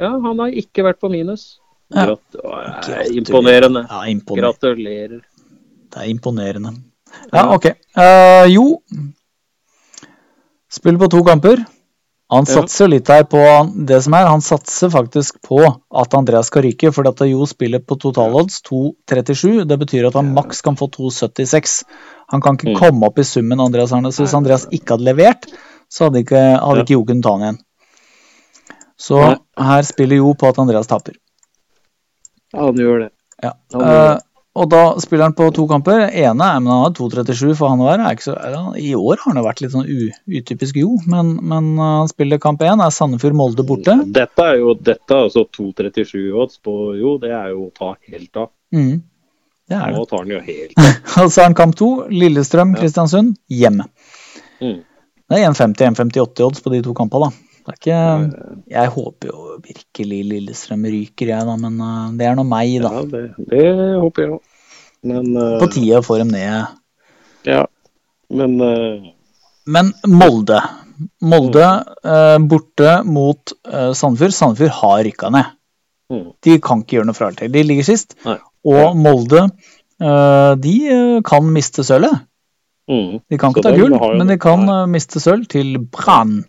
S2: Ja, han har ikke vært på minus.
S6: Ja.
S2: Grat Å, det er imponerende.
S6: ja, imponer.
S2: Gratulerer.
S6: Det er imponerende. Ja, ok. Eh, jo Spiller på to kamper. Han
S2: Ja.
S6: satser jo litt her på det som er. Han satser faktisk på at Andreas skal ryke, fordi at Jo spiller på totalodds 2,37. Det betyr at han maks kan få 2,76. Han kan ikke
S2: Mm.
S6: komme opp i summen Andreas har nå. Så hvis Andreas ikke hadde levert, så hadde ikke, hadde ikke Jo kunnet ta han igjen. Så
S2: Nei.
S6: her spiller Jo på at Andreas taper.
S2: Ja, han gjør det.
S6: Ja.
S2: Han gjør det.
S6: eh, og da spiller han på to kamper. Ene er, men han har 2,37 for han å være. Er ikke så, er han, I år har han jo vært litt sånn u, utypisk jo, men, men eh, han spiller kamp én, er Sandefjord-Molde borte.
S2: Dette er jo dette er altså 2,37 odds på Jo, det er jo å ta helt av.
S6: Mm. Det er det.
S2: Nå tar han jo helt av.
S6: Og så er han kamp to. Lillestrøm-Kristiansund hjemme.
S2: Mm.
S6: Det er 1,50-1,58 odds på de to kampene, da. Det er ikke, jeg håper jo virkelig Lillestrøm ryker, jeg, da, men eh, det er nå meg, da.
S2: Ja, det, det håper jeg òg. Men, eh,
S6: På tide å få dem ned.
S2: ja. men eh,
S6: Men Molde. Molde
S2: Mm.
S6: eh, borte mot eh, Sandefjord. Sandefjord har rykka ned.
S2: Mm.
S6: De kan ikke gjøre noe fra eller til. De ligger sist.
S2: Nei.
S6: Og Molde eh, de eh, kan miste sølvet.
S2: mm,
S6: De kan
S2: Så
S6: ikke ta
S2: de
S6: gull,
S2: har jo-
S6: men de kan eh, miste sølv til Brann.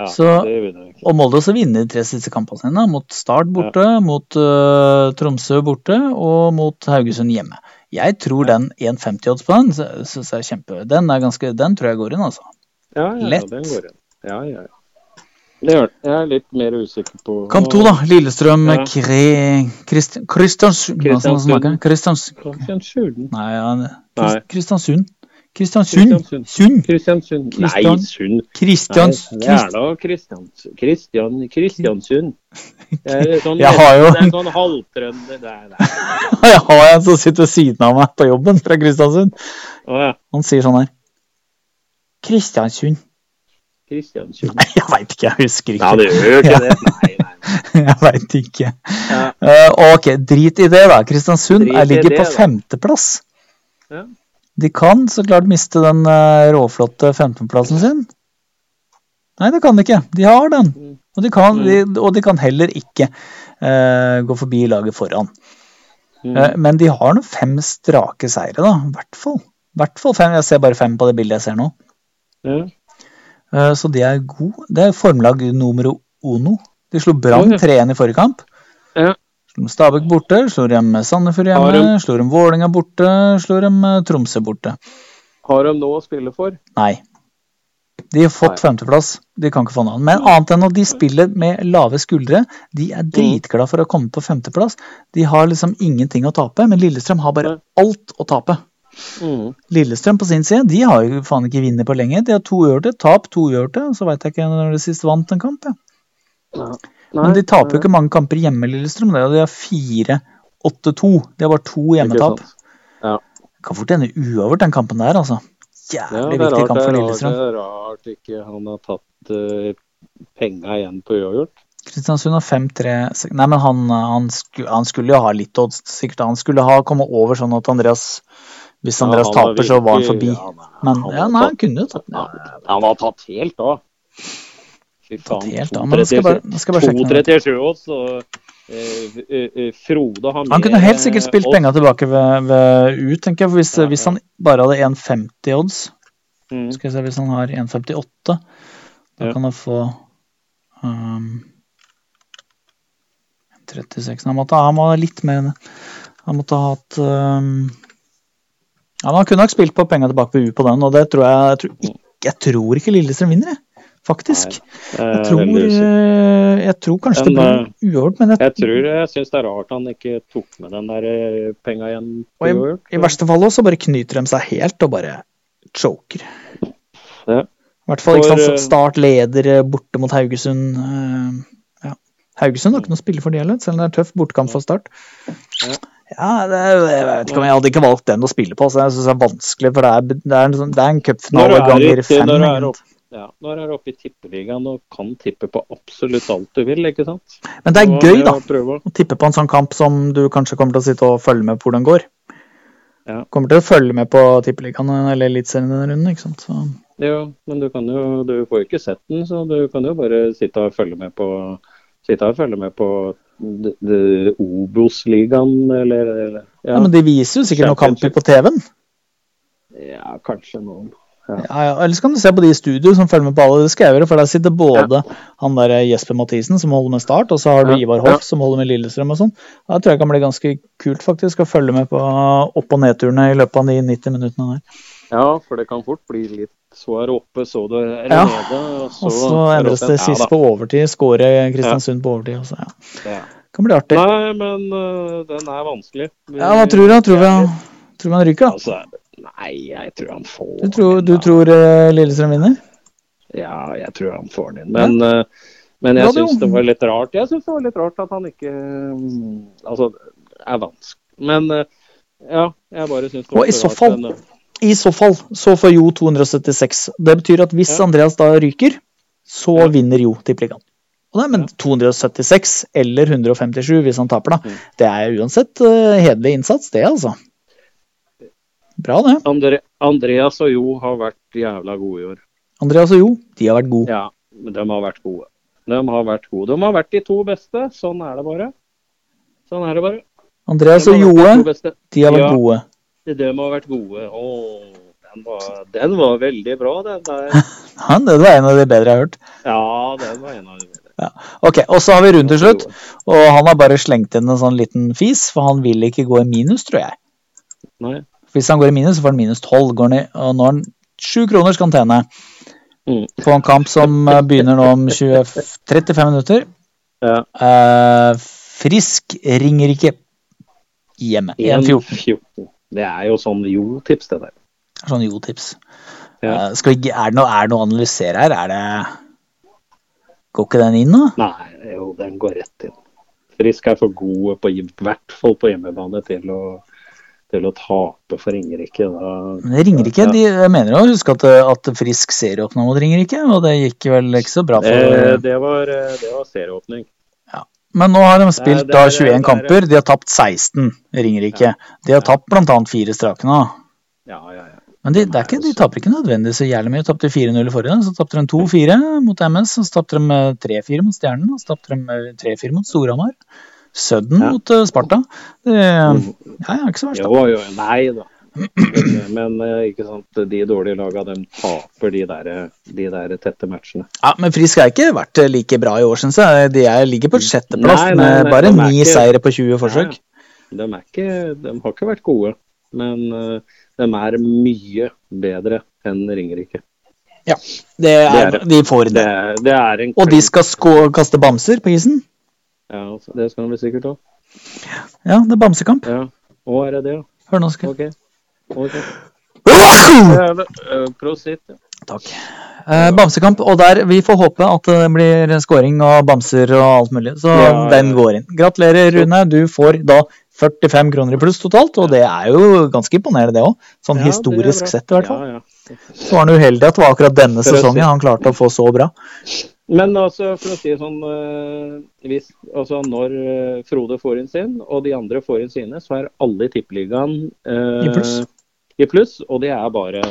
S2: ja,
S6: Så-
S2: det vil jeg ikke.
S6: Og Molde også vinner de tre siste kampene sine. da. Mot Start borte, mot eh, Tromsø borte og mot Haugesund hjemme. Jeg tror den 1,50-odds på den sy- synes jeg er kjempe... Den, er ganske, den tror jeg går inn, altså.
S2: Ja, ja,
S6: Lett.
S2: Den går inn. Ja, ja, ja. Det gjør den. Jeg er litt mer usikker på
S6: Kamp to, da. Lillestrøm
S2: Ja.
S6: Kre... Krist- Kristiansund Hva skal man snakke? Kristians-
S2: Kristiansund.
S6: Nei, ja.
S2: Nei.
S6: Krist- Kristiansund. Kristiansund.
S2: Kristiansund.
S6: Sund.
S2: Kristiansund. Nei,
S6: Kristian-
S2: Sund.
S6: Kristians...
S2: Nei, det er da Kristians, Kristian, Kristiansund. Det er sånn,
S6: Jeg har jo-
S2: det er sånn halvtrønder Nei, nei.
S6: Krist- Jeg har en som sitter ved siden av meg på jobben fra Kristiansund.
S2: Å ja.
S6: Han sier sånn her Kristiansund.
S2: Kristiansund.
S6: Nei, jeg veit ikke. Jeg husker
S2: Ja,
S6: ikke.
S2: det gjør jo ikke det. Nei, nei.
S6: Jeg veit ikke.
S2: Ja.
S6: Eh, ok, drit i det, da. Kristiansund
S2: Drit
S6: er-
S2: i
S6: ligger
S2: det,
S6: på
S2: da.
S6: femteplass.
S2: Ja.
S6: De kan så klart miste den eh, råflotte 15.-plassen sin. Nei, det kan de ikke. De har den.
S2: Mm.
S6: Og de kan, de, og de kan heller ikke eh, gå forbi laget foran.
S2: Mm.
S6: Eh, men de har nå fem strake seire, da. I hvert fall. hvert fall fem. Jeg ser bare fem på det bildet jeg ser nå.
S2: Ja.
S6: Eh, Så de er gode. Det er formlag numero uno. De slo Brann
S2: Oi.
S6: 3-1 i forrige kamp.
S2: Ja.
S6: Slo dem Stabæk borte, slo dem Sandefjord hjemme,
S2: Harum.
S6: slo dem Vålerenga borte, slo dem eh, Tromsø borte.
S2: Har de noe å spille for?
S6: Nei. De har fått femteplass. De kan ikke få noe annet. Men annet enn at de spiller med lave skuldre. De er dritglad for å komme på femteplass. De har liksom ingenting å tape, men Lillestrøm har bare
S2: Nei.
S6: alt å tape.
S2: Mm.
S6: Lillestrøm på sin side, de har jo faen ikke vunnet på lenge. De har to uavgjorte, tap to uavgjorte. Så veit jeg ikke når de sist vant en kamp. Ja. Men de taper jo
S2: eh,
S6: ikke mange kamper hjemme, Lillestrøm. Det er jo de har fire 8-2. De har bare to hjemmetap.
S2: Ja.
S6: Kan fort hende uavgjort den kampen der, altså.
S2: Ja, det er
S6: Jævlig viktig
S2: rart,
S6: kamp
S2: det
S6: for
S2: er rart,
S6: Lillestrøm.
S2: det er rart ikke han har tatt eh, penga igjen på uavgjort.
S6: Kristiansund har 5-3 sek- Nei, men han, han, skulle, han skulle jo ha litt odds, sikkert. Han skulle ha kommet over sånn at Andreas Hvis
S2: Ja,
S6: Andreas
S2: han har
S6: taper, så var han
S2: virkelig-
S6: forbi.
S2: ja, nei,
S6: Men
S2: han
S6: ja,
S2: har
S6: nei, han
S2: tatt-
S6: kunne jo tatt den.
S2: ja, Han var tatt helt av. Fy faen.
S6: Helt da, men nå skal jeg bare, nå skal jeg bare sjekke. noe.
S2: 2-37 odds, og eh, eh, eh, Frode har med
S6: Han kunne helt sikkert spilt
S2: odds.
S6: penga tilbake ved, ved ut, tenker jeg. for Hvis,
S2: Eh, Ja, ja.
S6: hvis han bare hadde 1,50 odds
S2: Mm.
S6: Skal vi se, Hvis han har 1,58, da
S2: Ja.
S6: kan han få um, 36 Han måtte, han må ha litt mer enn det. Han måtte ha hatt um, ja, men Han kunne nok spilt på penga tilbake på U på den, og det tror jeg Jeg tror ikke, jeg tror ikke Lillestrøm vinner, jeg. Faktisk. jeg,
S2: Eh,
S6: tror,
S2: veldig usikker.
S6: eh, jeg tror kanskje det
S2: Men, eh,
S6: blir uavgjort, men jeg,
S2: jeg tror eh, jeg syns det er rart han ikke tok med den der eh, penga igjen
S6: Og
S2: på uavgjort.
S6: I verste fall også bare knyter de seg helt og bare choker.
S2: Ja.
S6: I hvert fall ikke
S2: For,
S6: sant,
S2: eh,
S6: Start leder eh, borte mot Haugesund. eh, Ja. Haugesund har ikke noe å spille for de heller, selv om det er tøff bortekamp for Start. Ja, det, er- jeg vet ikke om jeg hadde ikke valgt den å spille på. Så jeg synes det er vanskelig, for det er, det er en, sånn- det er en
S2: Når
S6: cupfinale
S2: du er,
S6: ganger
S2: ute, når
S6: fem.
S2: du
S6: ikke
S2: er,
S6: sant?
S2: opp, ja, når du er oppe i tippeligaen og kan tippe på absolutt alt du vil, ikke sant?
S6: Men det er
S2: Så
S6: gøy, da.
S2: å prøve å-
S6: å tippe på en sånn kamp som du kanskje kommer til å sitte og følge med på hvordan går.
S2: Ja.
S6: Kommer til å følge med på tippeligaen eller eliteserien denne runden. ikke sant? Så,
S2: Jo, men du kan jo Du får jo ikke sett den, så du kan jo bare sitte og følge med på Sitte og følge med på d- d- Obos-ligaen, eller, eller
S6: ja.
S2: ja,
S6: men de viser jo sikkert noen
S2: Championship.
S6: kamper på TV-en.
S2: ja, kanskje noen.
S6: Ja, ja. Eller så kan du se på de i studio som følger med på alle. Det skal jeg gjøre, for der sitter både han der eh, Jesper Mathisen, som holder med Start, og så har du
S2: Ja,
S6: Ivar Hoff, som holder med Lillestrøm og sånn. Da tror jeg kan bli ganske kult, faktisk, å følge med på eh, opp- og nedturene i løpet av de 90 minuttene der.
S2: Ja, for det kan fort bli litt Så er det oppe, så det er
S6: Ja,
S2: nede. Og så,
S6: Og så endres det sist på overtid. Skårer Kristiansund på overtid også, ja.
S2: Ja.
S6: Kan bli artig.
S2: Nei, men øh, den er vanskelig. Vi-
S6: Ja, hva tror du? Tror vi han, tror vi han ryker, da?
S2: Altså, nei, jeg tror han får
S6: Du tror,
S2: den, altså.
S6: du
S2: da.
S6: tror eh, Lillestrøm vinner?
S2: Ja, jeg tror han får den inn. Men, øh, men
S6: Ja,
S2: jeg
S6: det er jo-
S2: syns det var litt rart. Jeg synes det var litt rart at han ikke øh, Altså, det er vanskelig. Men øh, ja, jeg bare syns det
S6: Og
S2: var
S6: i
S2: så
S6: så
S2: rart,
S6: fall-
S2: men, øh,
S6: I så fall så får Jo 276. Det betyr at hvis
S2: Ja.
S6: Andreas da ryker, så
S2: Ja.
S6: vinner Jo tippeligaen. Og det er men 276 eller 157 hvis han taper,
S2: Mm.
S6: da. Det er uansett eh, hederlig innsats, det, altså. Bra, det.
S2: Andre, Andreas og Jo har vært jævla gode i år.
S6: Andreas og Jo, de har vært gode.
S2: Ja, de har vært gode. De har vært gode. De har vært de to beste. Sånn er det bare. Sånn er det bare.
S6: Andreas
S2: De
S6: og
S2: har vært
S6: Joe,
S2: de to beste.
S6: de har vært
S2: Ja.
S6: gode.
S2: De har vært gode. Åh, den var, den var veldig bra, den der.
S6: Ja, det var en av de bedre jeg har hørt.
S2: Ja, den var en av de bedre.
S6: Ok, og så har vi rundt til slutt. Og han har bare slengt inn en sånn liten fis, for han vil ikke gå i minus, tror jeg.
S2: Nei.
S6: Hvis han går i minus, så får han minus 12. Går han i, og nå har han sju kroners kantene
S2: Mm.
S6: på en kamp som eh, begynner nå om 20, 35 minutter.
S2: Ja.
S6: Eh, frisk ringer ikke hjemme. 1-14
S2: 1-14. Det er jo sånn jo-tips, det der.
S6: er sånn jo-tips.
S2: Ja.
S6: Eh, skal vi, er, det noe, er det noe å analysere her? Er det Går ikke den inn, da?
S2: Nei, jo, den går rett inn. Frisk er for gode, på, i hvert fall på hjemmebane, til å, til å tape for Ingerike. Da
S6: Men det ringer ikke. De, jeg mener jo å huske at, at Frisk serieåpna mot Ringerike, og det gikk vel ikke så bra for
S2: Eh, det, var, eh, det var serieåpning.
S6: Men nå har de spilt
S2: det er-
S6: da
S2: det
S6: 21
S2: er-
S6: kamper. De har tapt 16, Ringerike. De har tapt bl.a. fire strake nå.
S2: Ja, ja, ja.
S6: Men de, det er ikke, de taper ikke nødvendigvis så jævlig mye. De tapte 4-0 i forrige, så tapte de 2-4 mot MS. og Så tapte de eh, 3-4 mot Stjernen, og så tapte de eh, 3-4 mot Storhamar. Sudden
S2: Ja. Mm.
S6: mot eh, Sparta. Det, eh, ja, ja, ikke så verst, da.
S2: Jo, jo, nei da. Men eh, ikke sant, de dårlige laga de taper de der, de der tette matchene.
S6: Ja, Men Frisk har ikke vært eh, like bra i år, syns jeg. De er ligger på sjetteplass
S2: Nei, nei, nei,
S6: med bare
S2: de er
S6: ni
S2: ikke-
S6: seire på 20 forsøk.
S2: Ja, De, er ikke, de har ikke vært gode, men eh, de er mye bedre enn Ringerike.
S6: Det er,
S2: Det er
S6: de får
S2: Det,
S6: det.
S2: er- det er en
S6: Og de skal skå, kaste bamser på isen?
S2: Ja, altså, det skal de vel sikkert ha.
S6: Ja, det er bamsekamp.
S2: Ja. Å, er det det, ja?
S6: Hør nå, skal
S2: Ok. Ok.
S6: jeg
S2: Ja, vel, eh, Prosit. ja.
S6: Sånn Takk. Eh, bamsekamp, og der vi får håpe at det blir scoring og bamser og alt mulig. Så
S2: Ja, ja.
S6: den går inn. Gratulerer, Rune. Du får da 45 kroner i pluss totalt, og det er jo ganske imponerende, det òg. Sånn
S2: Ja, det er bra.
S6: historisk sett, i hvert fall.
S2: Ja, ja.
S6: Så var han uheldig at det var akkurat denne
S2: For å si-
S6: sesongen han klarte å få så bra.
S2: Men altså, for å si det sånn eh, hvis, altså Når eh, Frode får inn sin, og de andre får inn sine, så er alle i tippeligaen eh,
S6: I pluss.
S2: i pluss. Og det er bare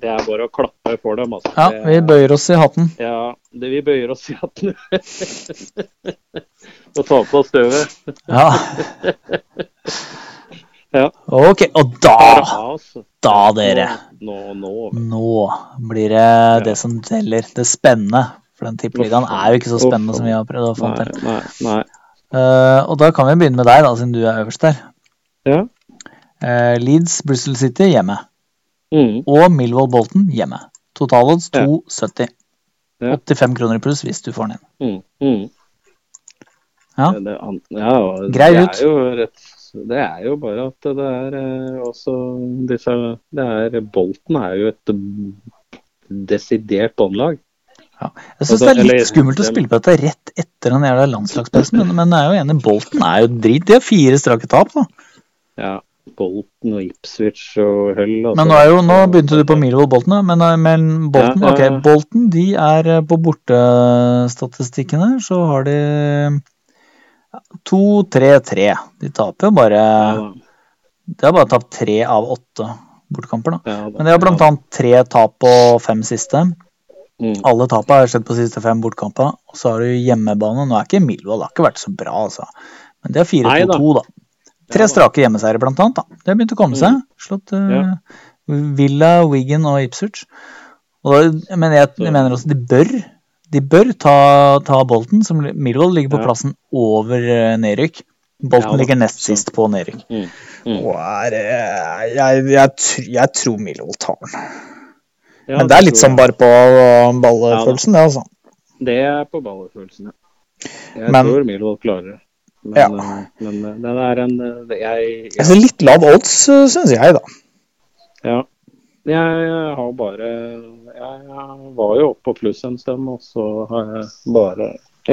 S2: det er bare å klappe for dem. Altså.
S6: Ja,
S2: Det-
S6: vi bøyer oss i hatten.
S2: ja, det, vi bøyer oss i hatten og tar på oss støvet.
S6: Ja.
S2: Ja.
S6: Ok, og
S2: Bare
S6: da,
S2: ha oss.
S6: da Ah, dere.
S2: altså. Nå, nå, nå.
S6: Nå blir det det som teller. Det spennende. For den tippeligaen er jo ikke så spennende som vi har prøvd å få
S2: Nei,
S6: til.
S2: nei, nei.
S6: Eh, og da kan vi begynne med deg, da, siden du er øverst der.
S2: Ja.
S6: Eh, Leeds, Bristol City hjemme.
S2: Mm,
S6: Og Millwall Bolton hjemme. Totalodds 2,70.
S2: Ja.
S6: 85 kroner i pluss hvis du får den inn.
S2: mm, mm.
S6: Ja.
S2: Det, det, an- ja og
S6: Grei
S2: det
S6: ut.
S2: Er jo rett, det er jo bare at det er eh, også disse det er, Bolten er jo et desidert båndlag.
S6: Jeg syns
S2: Altså,
S6: det er litt
S2: eller-
S6: skummelt å spille på dette rett etter den jævla landslagspausen, men, men jeg er jo enig, Bolton er jo drit. De har fire strake tap, da.
S2: Ja, Bolten og Ipswich og Hull. altså.
S6: Men nå, er jo, nå begynte du på Millwall Bolton, da, men, eh, men Bolton,
S2: Ja, ja, ja.
S6: ok, Bolton de er eh, på bortestatistikken her, så har de eh, ja, 2-3-3. De taper jo bare
S2: Ja, da.
S6: De har bare tapt tre av åtte bortekamper, da.
S2: Ja, da.
S6: Men de har blant annet tre tap på fem siste.
S2: Mm.
S6: Alle tapene har skjedd på siste fem bortekamper. Og så har du hjemmebane. Nå er ikke Millwall det har ikke vært så bra, altså. Men de har
S2: Nei da. Mm.
S6: 4-2-2, da.
S2: Ja
S6: Tre
S2: da.
S6: strake hjemmeseiere, blant annet. da. De har begynt å komme seg. Slått eh, Villa, Wigan og Ipswich. Og da, men jeg, jeg mener også de bør de bør ta, ta Bolten. som Millwall ligger på
S2: Ja.
S6: plassen over eh, nedrykk. Bolten
S2: Ja da.
S6: ligger nest sist på nedrykk.
S2: Mm. Mm.
S6: Og er, eh, jeg, jeg, tr- jeg tror Millwall tar den.
S2: Ja,
S6: Men det er litt
S2: tror
S6: sånn
S2: jeg.
S6: bare på eh, ballefølelsen, det, altså.
S2: Det er på ballefølelsen, ja. Jeg
S6: Men-
S2: tror Milvold klarer det. Men,
S6: Ja.
S2: eh, men eh, den er en eh, jeg, jeg
S6: Altså, litt lav odds, syns jeg, da.
S2: Ja. Jeg har bare Jeg var jo oppe på pluss en stund, og så har jeg bare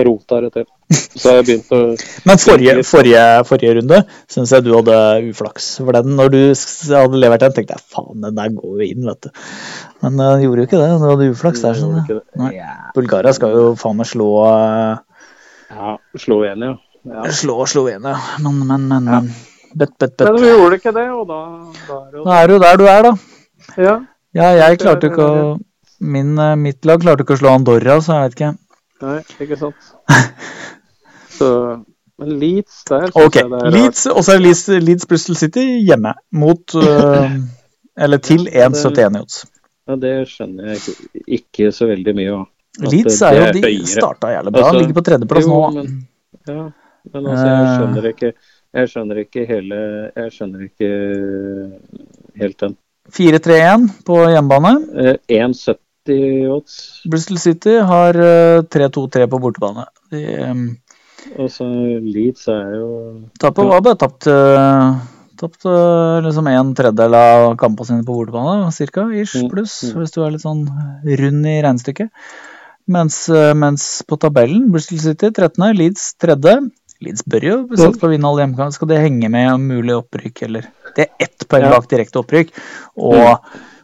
S2: rota det til. Så har jeg begynt å
S6: Men forrige, forrige, forrige runde syns jeg du hadde uflaks. For den, når du s- hadde levert den, tenkte jeg faen, den der går jo inn, vet du. Men eh, den gjorde jo ikke det. Du hadde uflaks der. Sånn, ja. Nei. Bulgaria skal jo faen meg slå eh,
S2: Ja, slå igjen, ja. ja.
S6: Slå Slovenia, men, men, men. men. Bøtt, bøtt,
S2: Men
S6: bøtt.
S2: vi gjorde ikke det, og da, da er det
S6: Nå er du der du er, da.
S2: jo ja.
S6: Ja, jeg klarte jo ikke å min, eh, Mitt lag klarte jo ikke å slå Andorra, så jeg vet ikke.
S2: Nei, ikke sant. Så Men Leeds der synes
S6: Ok,
S2: jeg det er rart.
S6: Leeds, og så er Leeds, Leeds Bristol City hjemme mot eh, Eller til 1,71 i odds.
S2: Ja, det skjønner jeg ikke, ikke så veldig mye av. At
S6: Leeds
S2: det
S6: er jo
S2: er
S6: De
S2: høyere.
S6: starta jævlig bra,
S2: Altså,
S6: ligger på tredjeplass nå.
S2: jo,
S6: Eh. da.
S2: men- Ja, men altså, jeg skjønner ikke Jeg skjønner ikke hele Jeg skjønner ikke helt den.
S6: 4-3-1 på hjemmebane.
S2: Eh, 1,70 odds,
S6: Bristol City har eh, 3-2-3 på bortebane. De um,
S2: og så Leeds er jo
S6: tapet var bare tapt eh, Tapt eh, liksom en tredjedel av kampene sine på bortebane, cirka, ish,
S2: Mm,
S6: pluss,
S2: mm.
S6: hvis du er litt sånn rund i regnestykket. Mens, eh, mens på tabellen, Bristol City 13., Leeds 3. Leeds bør jo
S2: Mm.
S6: satse på å vinne alle hjemmekamper. Skal det henge med om mulig opprykk, eller Det er ett poeng
S2: Ja.
S6: bak direkte opprykk. Og,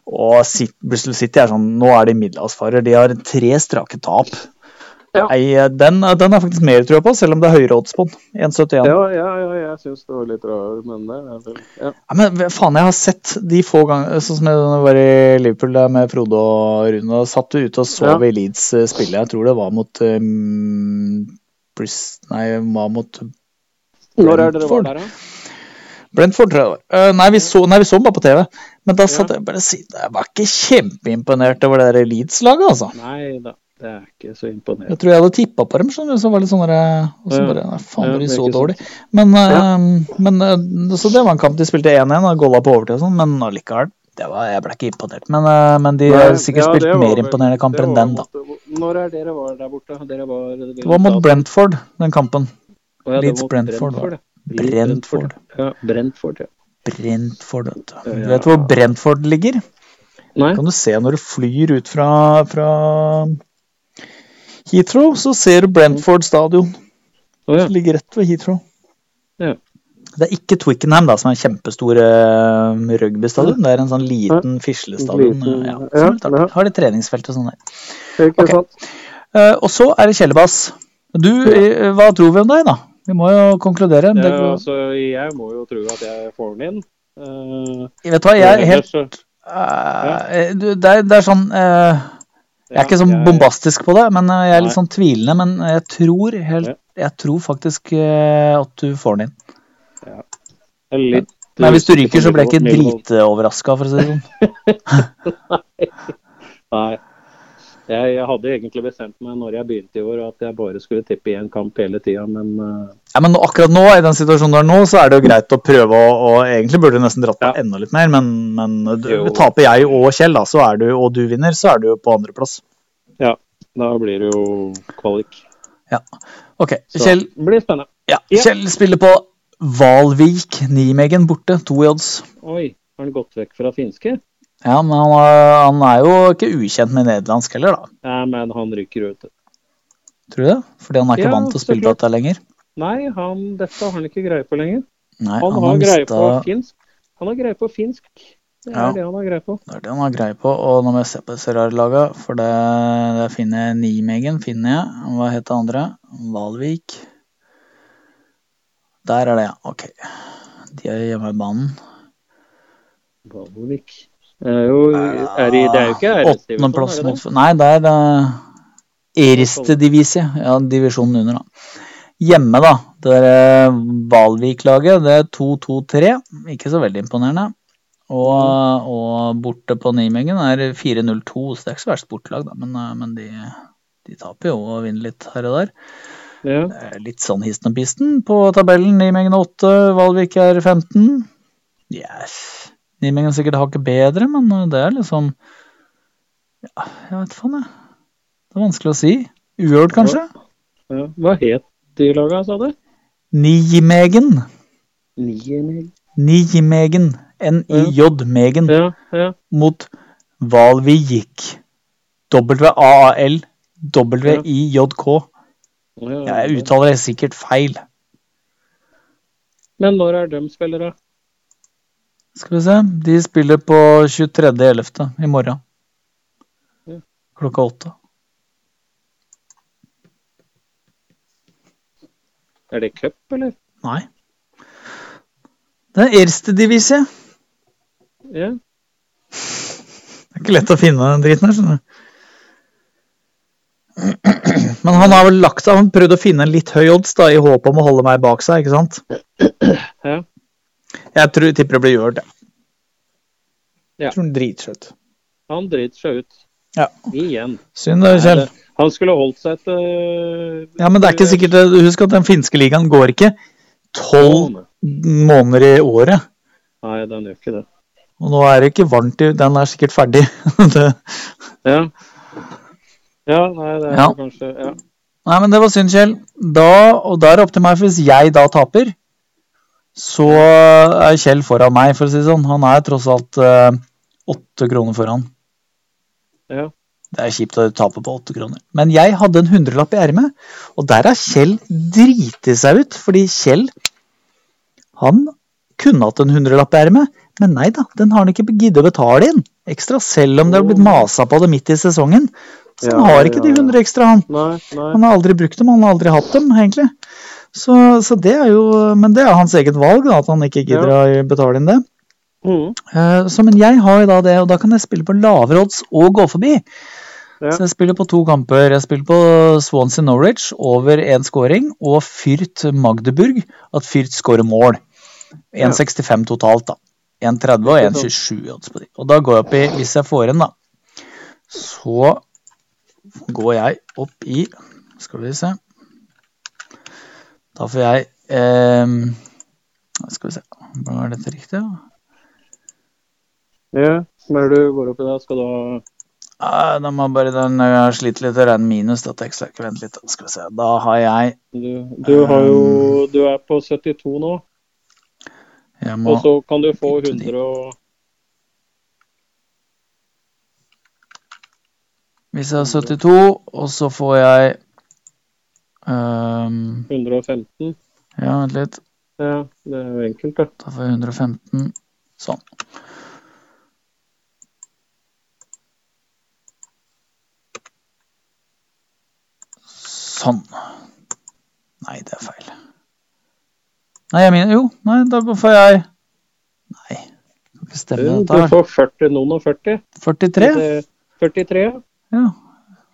S6: og Sit- Bristol City er sånn Nå er de middelhavsfarer. De har tre strake tap.
S2: Ja.
S6: Nei, eh, den, den er faktisk mer trua på, selv om det er høyere odds på den. 1,71.
S2: Ja, ja, ja, jeg syns det var litt rar, men det er vel ja.
S6: Ja, men hva faen, jeg har sett de få ganger Sånn som jeg når jeg var i Liverpool der med Frode og Rune. Da satt du ute og sov i Leeds eh, spille. Jeg tror det var mot um, Brist... Nei, var mot
S2: Når er dere var der, da?
S6: Brentford, tror jeg det var. Eh, nei, vi så, nei, vi så den bare på TV. Men da satt jeg bare og si, Jeg var ikke kjempeimponert over det der Leeds-laget, altså.
S2: Nei da, det er ikke så
S6: Jeg
S2: imponerende.
S6: tror jeg hadde tippa på dem, skjønner du. Så var det litt sånn der, og så
S2: Ja.
S6: bare Nei, faen,
S2: Ja,
S6: var de
S2: det er
S6: så
S2: ikke sant.
S6: dårlig? Men, eh, men eh, Så det var en kamp de spilte 1-1 og golla på overtid og sånn, men allikevel. Det var, jeg ble ikke imponert, men, eh, men de har sikkert
S2: Ja, det
S6: spilt
S2: var
S6: mer
S2: vel-
S6: imponerende kamper
S2: det
S6: enn
S2: var
S6: den, da.
S2: mot- Når er dere var der borte? Dere var
S6: Det var mot Brentford, den kampen.
S2: Å, ja, det var
S6: Leeds
S2: mot
S6: Brentford, da.
S2: ja. Leeds
S6: Brentford.
S2: Ja, Brentford, ja.
S6: Brentford, vet du.
S2: Ja.
S6: Du vet hvor Brentford ligger?
S2: Nei?
S6: Kan du se når du flyr ut fra, fra Heathrow, så ser du Brentford stadion.
S2: Å, ja.
S6: som ligger rett ved Heathrow.
S2: Ja.
S6: Det er ikke Twickenham, da, som er en kjempestor eh, rugbystadion. Det er en sånn liten fislestadion.
S2: Liten,
S6: eh, Ja, som er litt
S2: ja, ja.
S6: artig. Har litt treningsfelt og sånn der.
S2: Ikke
S6: Ok.
S2: sant?
S6: Eh, og så er det Kjellebass. Du, eh, hva tror vi om deg, da? Vi må jo konkludere.
S2: Ja,
S6: Det,
S2: altså, jeg må jo tro at jeg får den inn. Eh,
S6: vet du hva, jeg er helt
S2: ellers så-
S6: eh, du, det, er, det er sånn eh, Jeg
S2: Ja,
S6: er ikke sånn
S2: jeg-
S6: bombastisk på det, men eh, jeg er
S2: Nei.
S6: litt sånn tvilende. Men jeg tror, helt, jeg tror faktisk eh, at du får den inn.
S2: jeg er litt-
S6: Men hvis du ryker, så blir jeg ikke
S2: Milvold.
S6: dritoverraska, for å si det sånn.
S2: Nei. Jeg, jeg hadde egentlig bestemt meg når jeg begynte i år at jeg bare skulle tippe én kamp hele tida, men eh,
S6: Ja, men akkurat nå, i den situasjonen du er nå, så er det jo greit å prøve å og Egentlig burde du nesten dratt på
S2: Ja.
S6: enda litt mer, men, men du,
S2: Jo.
S6: taper jeg og Kjell, da, så er du, og du vinner, så er du jo på andreplass.
S2: da blir det jo kvalik.
S6: Ok,
S2: Så
S6: Kjell,
S2: det blir spennende.
S6: ja,
S2: Ja.
S6: Kjell spiller på Valvik Nimegen borte, to i odds.
S2: Oi, har han gått vekk fra finske?
S6: Ja, men han, er- han er jo ikke ukjent med nederlandsk heller, da.
S2: Nei, men han ryker ut.
S6: Tror du det? Fordi han er ikke
S2: Ja,
S6: vant til å
S2: så
S6: spille
S2: klart.
S6: dette lenger.
S2: Nei, han, dette har han ikke greie på lenger.
S6: Nei,
S2: Han har greie på finsk. Han har greie på finsk. Det er
S6: Ja.
S2: det han har greie på.
S6: Det er det han har greie på, og nå må jeg se på disse rare laga, for det, der finner jeg Nimegen, finner jeg. Hva heter det andre? Valvik. Der er det, ja. Ok. De er hjemmebanen.
S2: Valvik. Det er jo, er i, det er jo ikke æresdivisjon,
S6: Ah, Åttendeplass
S2: er det det?
S6: mot Nei, det er uh, Erste divisie. Ja, divisjonen under, da. Hjemme, da. Det der eh, Valvik-laget, det er 2-2-3. Ikke så veldig imponerende. Og,
S2: Mm.
S6: og borte på Nimegen er 4-0-2, så det er ikke så verst bortelag, da. Men, eh, men de, de taper jo og vinner litt her og der.
S2: Ja.
S6: Det er litt sånn histen og pisten på tabellen. Nimegen er 8, Valvik er 15. Yes. Nimegen er sikkert hakket bedre, men eh, det er liksom ja, Jeg vet faen, jeg. Det er vanskelig å si. Uavgjort, kanskje?
S2: Ja. Hva het de laga, sa du?
S6: Nijmegen.
S2: Niemil.
S6: Nijmegen. N-I-J-megen.
S2: Ja, ja.
S6: Mot Valvik. W-A-A-L. W-I-J-K.
S2: Ja, ja, ja.
S6: Jeg uttaler det sikkert feil.
S2: Men når er de spillere?
S6: Skal vi se. De spiller på 23.11. i morgen.
S2: Ja.
S6: Klokka åtte.
S2: Er det cup, eller?
S6: Nei. Det er erste divisie.
S2: Ja.
S6: Det er ikke lett å finne den driten her, skjønner du. Men han har vel lagt seg, han prøvde å finne en litt høy odds da, i håp om å holde meg bak seg, ikke sant?
S2: Ja.
S6: Jeg tror, tipper det blir gjort, jeg.
S2: Ja.
S6: Jeg tror han driter seg ut.
S2: Han driter seg ut.
S6: Ja.
S2: Igjen.
S6: Synd det, Kjell.
S2: Nei, det- Han skulle holdt seg til øh,
S6: Ja, men det er ikke sikkert, husk at den finske ligaen går ikke tolv
S2: måned.
S6: måneder i året.
S2: Nei, den gjør ikke det.
S6: Og nå er det ikke varmt, i- den er sikkert ferdig. det.
S2: Ja. Ja, nei, det er
S6: Ja.
S2: kanskje ja.
S6: Nei, men det var synd, Kjell. Da, og da er det opp til meg, for hvis jeg da taper, så er Kjell foran meg, for å si det sånn. Han er tross alt eh, åtte kroner foran.
S2: Ja.
S6: Det er kjipt å tape på åtte kroner. Men jeg hadde en hundrelapp i ermet, og der har Kjell driti seg ut. Fordi Kjell, han kunne hatt en hundrelapp i ermet, men nei da, den har han ikke giddet å betale inn ekstra, selv om det har blitt masa på det midt i sesongen. Så han
S2: Ja,
S6: har ikke
S2: ja,
S6: de
S2: ja.
S6: hundre ekstra, han.
S2: Nei, nei.
S6: Han har aldri brukt dem, han har aldri hatt dem, egentlig. Så, så det er jo Men det er hans eget valg, da, at han ikke gidder å betale inn det.
S2: Mhm.
S6: Eh, Så, men jeg har jo da det, og da kan jeg spille på lavere odds og gå forbi.
S2: Ja.
S6: Så jeg spiller på to kamper. Jeg spiller på Swansea Norwich over én scoring og Fyrt Magdeburg, at Fyrt scorer mål. 1,65 totalt, da. 1,30 og 1,27 odds på de. Og da går jeg opp i Hvis jeg får en, da, så går jeg opp i Skal vi se Da får jeg ehm, Skal vi se Var dette riktig? da?
S2: Ja, når du går opp i det, skal du ha
S6: Nei, Da må jeg bare den jeg sliter litt og regner minus dette ekstrakket. Vent litt, da skal vi se. Da har jeg
S2: du, du har jo
S6: Um.
S2: Du er på 72 nå,
S6: Jeg må
S2: og så kan du få 100 og
S6: Hvis jeg har 72, og så får jeg ehm,
S2: 115.
S6: Ja, vent litt.
S2: Ja, det er jo enkelt, det.
S6: Da får jeg 115. Sånn. Sånn. Nei, det er feil. Nei, jeg mener Jo, nei, da får jeg Nei, jeg kan ikke stemme
S2: Du
S6: dette. her.
S2: får 40, noen og 40.
S6: 43?
S2: Det- 43, ja.
S6: Ja.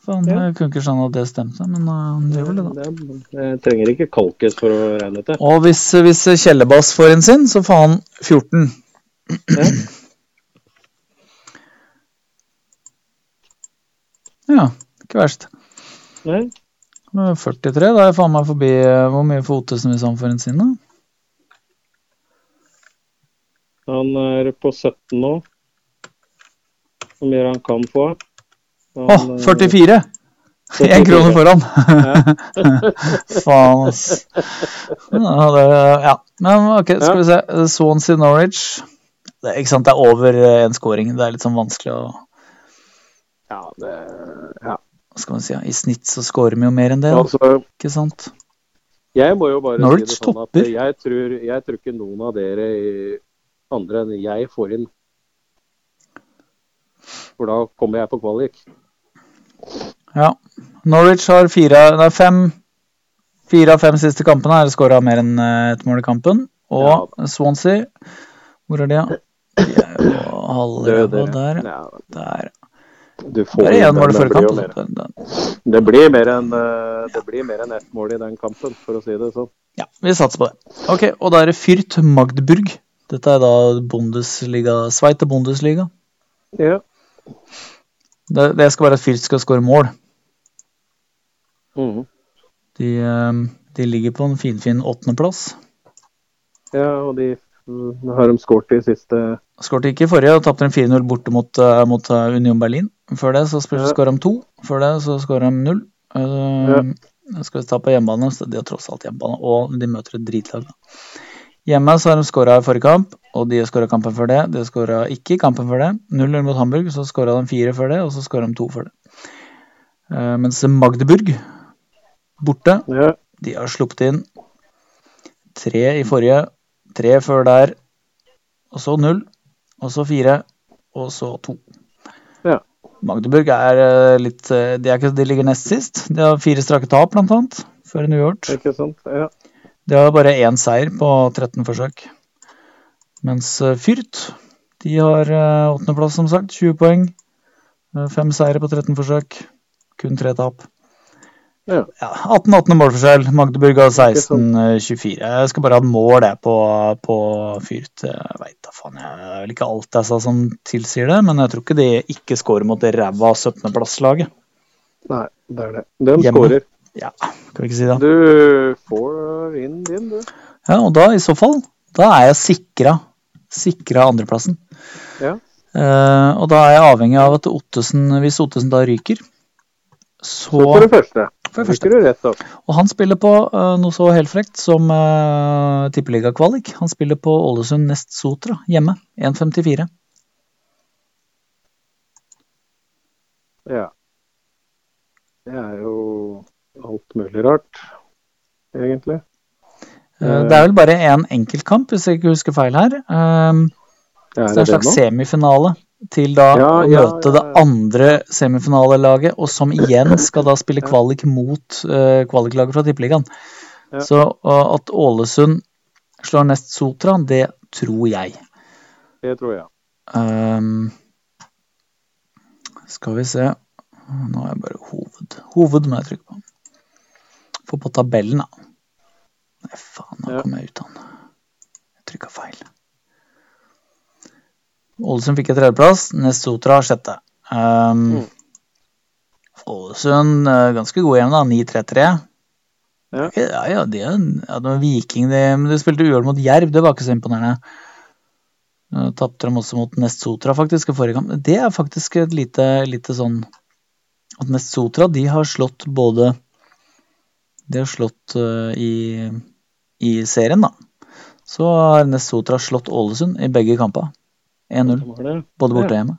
S6: Faen,
S2: eh, Ja.
S6: jeg kunne ikke skjønne at det stemte, men eh, han gjør vel det, da.
S2: Det er- eh, Jeg trenger ikke kalkes for å regne ut det.
S6: Og hvis, hvis Kjellebass får en sin, så får han 14.
S2: Ja.
S6: Ja, ikke verst.
S2: Nei,
S6: Nå er jeg 43, da er jeg faen meg forbi eh, Hvor mye får Ottesen hvis han får en sin, da?
S2: han er på 17 nå. Hvor mye han kan få. Han,
S6: Å,
S2: eh,
S6: 44! Én krone foran! Faen, ass. Ja, det, ja. Men ok, skal vi se. Swansea Norwich. Det, ikke sant, det er over eh, en scoring. Det er litt sånn vanskelig å
S2: Ja, det, ja.
S6: hva skal man si, ja, I snitt så scorer vi jo mer enn det, da,
S2: Altså,
S6: ikke sant?
S2: Jeg må jo bare
S6: Norwich
S2: si det sånn at
S6: topper.
S2: jeg tror, jeg tror ikke noen av dere i- andre enn jeg får inn. For da kommer jeg på kvalik.
S6: Ja. Norwich har fire, nei, fem, fire av fem siste kampene har skåra mer enn eh, ett mål i kampen. Og Swansea Hvor er de, da? De er jo halvdøde der. ja.
S2: Ja,
S6: Der.
S2: du får
S6: Bare
S2: inn
S6: én
S2: den,
S6: mål i
S2: det blir
S6: forkant.
S2: jo
S6: altså.
S2: mer-
S6: Den- den-
S2: Det blir mer enn eh, det blir mer enn ett mål i den kampen, for å si det sånn.
S6: Ja, vi satser på det. Ok, Og da er det Fyrt Magdeburg. Dette er da Bundesliga, Sveite Bundesliga.
S2: Ja.
S6: Det, det skal være at Fyrt skal skåre mål.
S2: Mhm.
S6: De, eh, de ligger på en finfin åttendeplass.
S2: ja, og de mm, har de skåret de siste
S6: Skårte ikke i forrige og tapte en 4-0 borte mot, eh, mot eh, Union Berlin. Før det så
S2: Ja.
S6: skåra de to, før det så skåra de null. Eh,
S2: Ja.
S6: nå Skal vi ta på hjemmebane, så de har tross alt hjemmebane. Og de møter et dritlag. da. Hjemme så har de skåra i forrige kamp, og de har skåra kampen før det. De har skåra ikke i kampen før det. 0-0 mot Hamburg, så skåra de fire før det, og så skåra de to før det. Eh, mens Magdeburg, borte,
S2: Ja,
S6: de har sluppet inn tre i forrige, tre før der, og så null, og så fire, og så to.
S2: Ja.
S6: Magdeburg er eh, litt eh, de, er ikke, de ligger nest sist. De har fire strake tap, blant annet, før en uavgjort.
S2: ikke sant? Ja.
S6: De har bare én seier på 13 forsøk. Mens eh, Fyrt de har eh, åttendeplass, som sagt. 20 poeng. Eh, Fem seire på 13 forsøk. Kun tre tap.
S2: Ja.
S6: 18-18 målforskjell. Magdeburg har
S2: Ikke
S6: 16-24. Jeg skal bare ha et mål jeg, på, på Fyrt. Jeg veit da faen. Jeg det er vel ikke alt jeg sa som tilsier det, men jeg tror ikke de ikke scorer mot det ræva 17.-plasslaget.
S2: Nei, det er det. De
S6: Hjemme.
S2: skårer.
S6: Ja, kan vi ikke si det?
S2: Du får inn din, du.
S6: Ja, og da i så fall, da er jeg sikra, sikra andreplassen.
S2: Ja.
S6: Eh, og da er jeg avhengig av at Ottesen, hvis Ottesen da ryker, så
S2: Så for det første.
S6: for det
S2: Første.
S6: første.
S2: Du rett opp.
S6: Og han spiller på eh, noe så helt frekt som uh, tippeligakvalik. Han spiller på Ålesund Nest Sotra hjemme. 1,54.
S2: Ja. Det er jo alt mulig rart, egentlig.
S6: Eh, det er vel bare én enkeltkamp, hvis jeg ikke husker feil her. Eh,
S2: Er
S6: Så det er en
S2: det
S6: slags
S2: nå?
S6: semifinale til da
S2: Ja,
S6: å
S2: ja,
S6: møte
S2: ja,
S6: det
S2: ja.
S6: andre semifinalelaget, og som igjen skal da spille kvalik mot eh, kvaliklaget fra Tippeligaen.
S2: Ja.
S6: Så og at Ålesund slår nest Sotra, det tror jeg.
S2: Det tror jeg.
S6: Ehm, skal vi se Nå har jeg bare hoved. Hoved må jeg trykke på. Få på tabellen, da. Nei, faen, nå
S2: Ja.
S6: kom jeg ut av den. Jeg trykka feil. Ålesund fikk en tredjeplass. Nestotra sjette. Um, Ålesund eh, ganske god jevn, da. 9-3-3.
S1: Ja.
S6: ja, ja, det er en- ja, det var Viking, det. Men de spilte uøl mot Jerv, det var ikke så imponerende. Eh, Tapte dem også mot Nestotra, faktisk, i forrige kamp. Det er faktisk et lite, lite sånn at Nestotra, de har slått både De har slått eh, i, i serien, da. Så har Nestotra slått Ålesund i begge kampene. 1-0.
S2: som var det.
S6: Både borte og hjemme.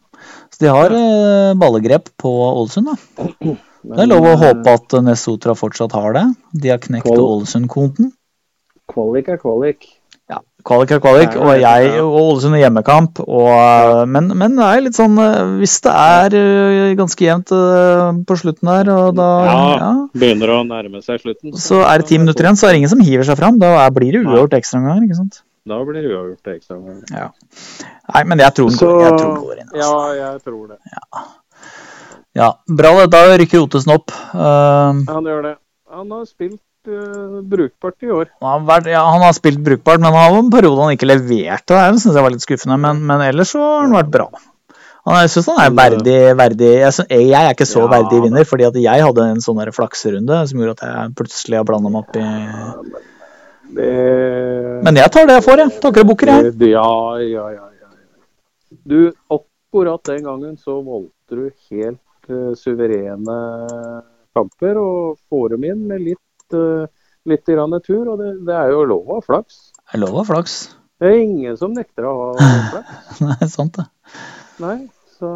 S6: Så de har eh, ballegrep på Ålesund, da. Det er lov å håpe at eh, Nesotra fortsatt har det. De har knekt
S2: Kval-
S6: Ålesund-koden.
S2: eh, Kvalik er kvalik.
S6: Ja, kvalik er kvalik,
S2: Ja,
S6: og jeg
S2: ja.
S6: og Ålesund er hjemmekamp. Og, eh, men, men det er litt sånn eh, Hvis det er eh, ganske jevnt eh, på slutten der, og da
S2: Ja.
S6: ja,
S2: Begynner å nærme seg slutten.
S6: Så er det ti minutter igjen, så er det ingen som hiver seg fram. Da er- blir det uavgjort ekstraomganger, ikke sant.
S2: Da blir det uavgjort i ekstraomgangen.
S6: Nei, men jeg tror den
S1: Så-
S6: går, jeg tror den går inn. altså.
S2: Ja, jeg tror det.
S6: Ja, bra det. Da rykker Otesen opp. Eh,
S2: Han gjør det. Han har spilt eh, brukbart i år.
S6: Han har, vært, ja, han har spilt brukbart, men han har en periode han ikke leverte. Det syns jeg var litt skuffende, men, men ellers så har han vært bra. Han, jeg syns han er verdig, verdig jeg, syns- jeg er ikke så
S2: Ja,
S6: verdig vinner, fordi at jeg hadde en sånn der flakserunde som gjorde at jeg plutselig har blanda meg opp i
S2: Det
S6: Men jeg tar det jeg får, jeg. Takker og bukker, jeg.
S2: Det- Ja, ja, ja, ja. Du, akkurat den gangen så valgte du helt eh, suverene kamper og får dem inn med litt, eh, litt grann tur. Og det, det er jo lov å ha flaks.
S6: Jeg lover flaks.
S2: Det er ingen som nekter å ha flaks.
S6: Det er sant, det.
S2: Nei, så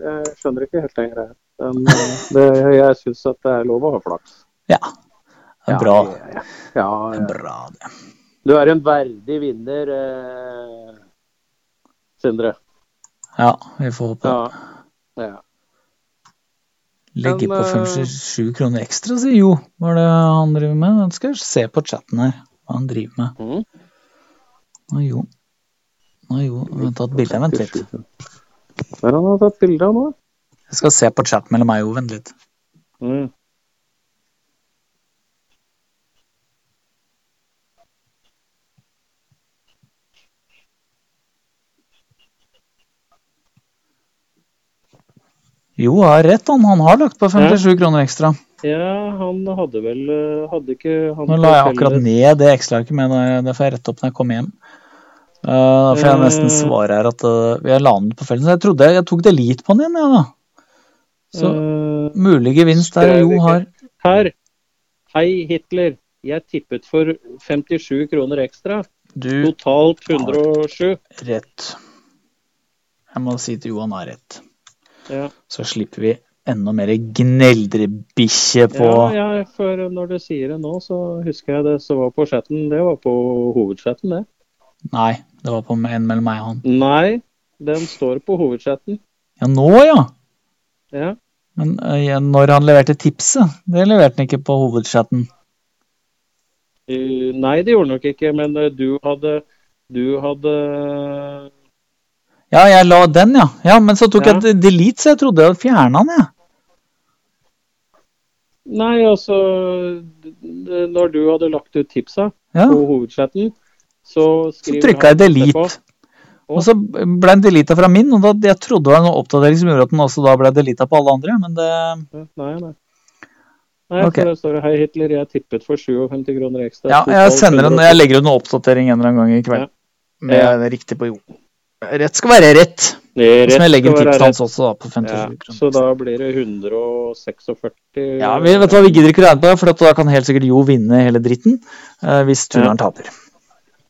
S2: jeg skjønner ikke helt den greia. Men eh, det, jeg syns at det er lov å ha flaks.
S6: Ja. Det er bra.
S2: Ja, ja, ja.
S6: Bra, det.
S2: Du er en verdig vinner, eh, Sindre.
S6: Ja, vi får håpe.
S2: Ja. ja.
S6: Legge
S2: Men,
S6: på
S2: eh,
S6: 57 kroner ekstra, sier Jo. Hva er det han driver med? Jeg skal se på chatten her hva han driver med.
S2: Mhm.
S6: Nå, Jo. Nå, Jo. Vent, tatt bildet. Vent litt.
S2: Hva er det han har tatt bilde av nå?
S6: Jeg skal se på chatten mellom meg og Jo. Vent litt. Mm. Jo har rett, han. Han har lagt på 57 kroner ekstra.
S2: Ja, han hadde vel eh, Hadde ikke han
S6: Nå la jeg
S2: forteller-
S6: akkurat ned det ekstraarket, men eh, det- det får jeg rette opp når jeg kommer hjem. Uh, for jeg nesten
S2: Eh.
S6: svarer her at eh, jeg la den ut på felten, så jeg trodde jeg, jeg tok delete på den igjen, jeg, da. Så
S2: Eh,
S6: mulig gevinst der
S5: Skrev
S6: Jo
S5: ikke.
S6: har
S2: her. Hei, Hitler. Jeg tippet for 57 kroner ekstra.
S6: Du
S2: Totalt 107.
S6: rett. Jeg må si til Johan har rett.
S2: Ja,
S6: Så slipper vi enda mer gneldrebikkje på
S2: ja, ja for når du sier det nå, så husker jeg det som var på chatten. Det var på hovedchatten, det.
S6: Nei, det var på en mellom meg og han.
S2: Nei, den står på hovedchatten.
S6: Ja, nå ja!
S2: Ja.
S6: Men eh, ja, når han leverte tipset, det leverte han ikke på hovedchatten.
S2: Eh, Nei, det gjorde den nok ikke, men eh, du hadde Du hadde
S6: Ja, jeg la den, ja. Ja, Men så tok
S2: Ja.
S6: jeg de- delete, så jeg trodde jeg hadde fjerna den, jeg.
S2: Nei, altså d- d- Når du hadde lagt ut tipsa
S6: Ja.
S2: på hovedchatten, så
S6: Så
S2: skriver
S6: trykka
S2: han
S6: jeg delete.
S2: etterpå.
S6: Og så ble den deleta fra min, og da, jeg trodde det var en oppdatering som gjorde at den også da ble deleta på alle andre, men det
S2: Eh, Nei, nei. Nei,
S6: Ok.
S2: for det står det, Hei, Hitler, jeg tippet for 57 kroner ekstra.
S6: Ja, jeg
S2: Totalt
S6: sender en,
S2: 100.
S6: jeg legger ut en oppdatering en eller annen gang i kveld.
S2: Ja.
S6: Med
S2: Ja.
S6: det riktig på jo. Rett skal være rett.
S2: Det er rett
S6: Som jeg legger
S2: skal være
S6: tipset
S2: rett.
S6: hans også, da, på 57
S2: Ja,
S6: kroner.
S2: så da blir det 146
S6: Ja, vi, vet du hva, vi gidder ikke regne på det, for at da kan helt sikkert Jo vinne hele dritten eh, hvis turneren taper.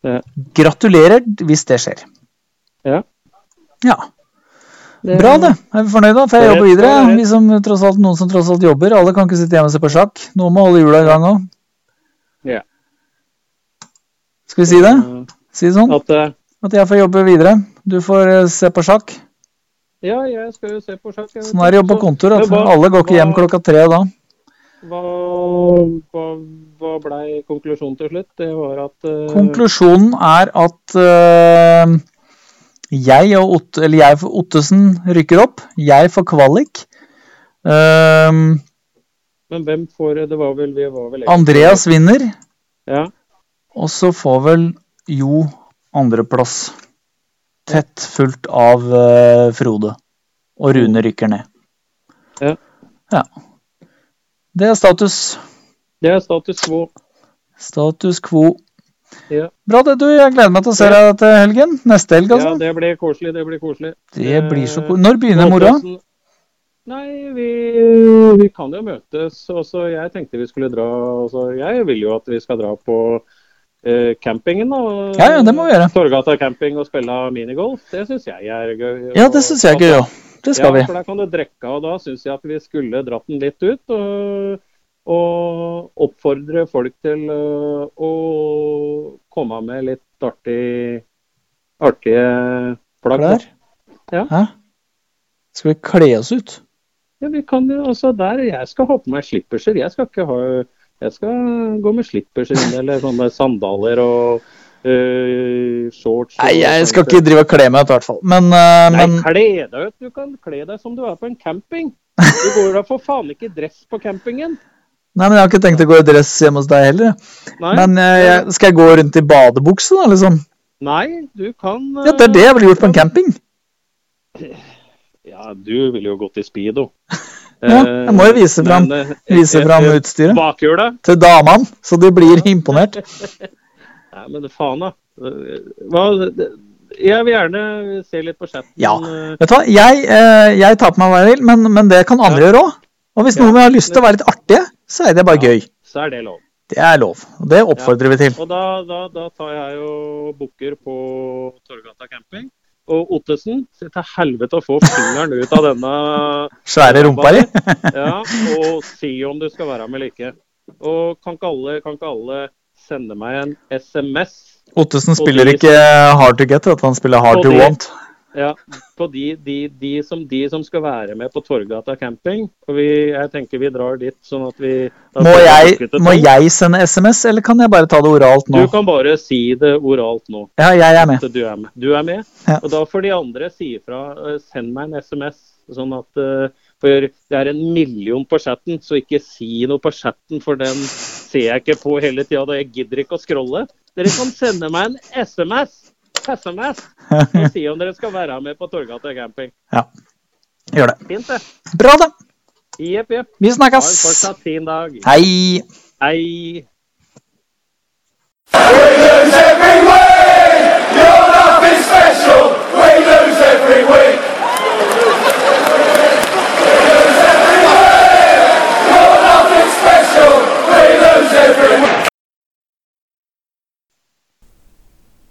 S2: Ja.
S6: Gratulerer hvis det skjer.
S2: Ja.
S6: Ja. Bra, det. Er vi fornøyde, da? Får jeg
S2: Rett
S6: jobbe videre?
S2: skal være rett.
S6: Vi som tross alt, noen som tross alt jobber. Alle kan ikke sitte hjemme og se på sjakk. Noen må holde hjula i gang òg.
S2: Ja.
S6: Skal vi si det? Si det sånn?
S2: At, eh,
S6: At jeg får jobbe videre. Du får eh, se på sjakk.
S2: ja, jeg skal jo se på sjakk. jeg vet
S6: Sånn er det
S2: ikke.
S6: å jobbe på
S2: Så-
S6: kontor. At
S2: Men hva-
S6: alle går ikke hjem
S2: hva-
S6: klokka tre da.
S2: Hva, hva, hva blei konklusjonen til slutt? Det var at eh,
S6: Konklusjonen er at eh, jeg og Ott, eller jeg for Ottesen rykker opp. Jeg får kvalik. Eh,
S2: Men hvem får Det var vel vi var vel egentlig-
S6: Andreas vinner.
S2: Ja.
S6: Og så får vel Jo andreplass. Tett fulgt av eh, Frode. Og Rune rykker ned.
S2: Ja.
S6: Ja. Det er status.
S2: Det er status quo.
S6: Status quo.
S2: Ja.
S6: Bra det, du. Jeg gleder meg til å se deg til helgen. Neste helg,
S2: Ja,
S6: altså.
S2: det blir koselig. Det blir koselig.
S6: det blir så
S2: eh,
S6: ko- Når begynner moroa?
S2: Håkonsen- Nei, vi, vi kan jo møtes. og så jeg tenkte vi skulle dra altså, Jeg vil jo at vi skal dra på eh, campingen. Og,
S6: Ja, ja, det må vi gjøre.
S2: Torgata camping og spille minigolf. Det syns jeg er gøy.
S6: Ja, det syns jeg er gøy òg. Det skal vi.
S2: Ja, for der kan du drikke, og da syns jeg at vi skulle dratt den litt ut. Og, og oppfordre folk til øh, å komme med litt artig, artige plagg. da.
S6: Klær?
S2: Ja.
S6: Hæ? Skal vi kle oss ut?
S2: Ja, vi kan jo altså der, Jeg skal ha på meg slipperser. Jeg skal ikke ha jeg skal gå med slipperser inn, eller sånne sandaler og øh, shorts. og
S6: Nei, jeg skal
S2: sånt.
S6: ikke drive og kle meg ut, i hvert fall. Men, eh, men
S2: Nei, kle deg ut. Du kan kle deg som du er på en camping. Du går da for faen ikke i dress på campingen.
S6: Nei, men jeg har ikke tenkt å gå i dress hjemme hos deg heller. jeg.
S2: Nei.
S6: Men eh, jeg, skal jeg gå rundt i badebukse, da, liksom?
S2: Nei, du kan
S6: Ja, det er det jeg ville gjort på en camping.
S2: eh, Ja, du ville jo gått i speedo. Eh,
S6: Ja, jeg må jo vise fram- Vise fram utstyret
S2: Bakhjulet?
S6: til damene, så de blir imponert.
S2: Nei, men faen, da. Eh, Hva Jeg vil gjerne se litt på chatten.
S6: Ja.
S2: eh,
S6: Vet du hva, jeg, eh, jeg tar på meg hva jeg vil, men, men det kan andre gjøre òg. Og hvis
S2: Ja.
S6: noen har lyst til å være litt artige, så er det bare gøy.
S2: Så er det lov.
S6: Det er lov. Og det oppfordrer vi til.
S2: Og da, da, da tar jeg jo booker på Torgata camping. Og Ottesen, se til helvete å få fingeren ut av denne
S6: Svære rumpa di.
S2: ja, og si om du skal være med eller ikke. Og kan ikke alle, kan ikke alle sende meg en SMS
S6: Ottesen
S2: Og
S6: spiller
S2: de-
S6: ikke
S2: liksom-
S6: hard to get, vet du. han spiller hard
S2: Og
S6: to
S2: de-
S6: want.
S2: Ja, på de, de, de, som, de som skal være med på Torgata camping. For vi, jeg tenker vi drar dit sånn at vi da
S6: Må
S2: får vi
S6: jeg,
S2: booket et
S6: må
S2: tog.
S6: jeg sende SMS, eller kan jeg bare ta det oralt nå?
S2: Du kan bare si det oralt nå.
S6: Ja, jeg er med.
S2: At du er med. Du er med.
S6: Ja.
S2: Og da får de andre si ifra. eh, Send meg en SMS. Sånn at eh, For det er en million på chatten, så ikke si noe på chatten, for den ser jeg ikke på hele tida. Og jeg gidder ikke å scrolle. Dere kan sende meg en SMS. SMS! Og si om dere skal være med på Torgata camping.
S6: Gjør det.
S2: Fint, det.
S6: Bra, det.
S2: Jepp, jepp.
S6: Vi
S2: Ha en
S6: snakkes.
S2: fortsatt fin dag.
S6: Hei.
S2: Hei.
S7: lose every week. You're nothing special. We lose every week.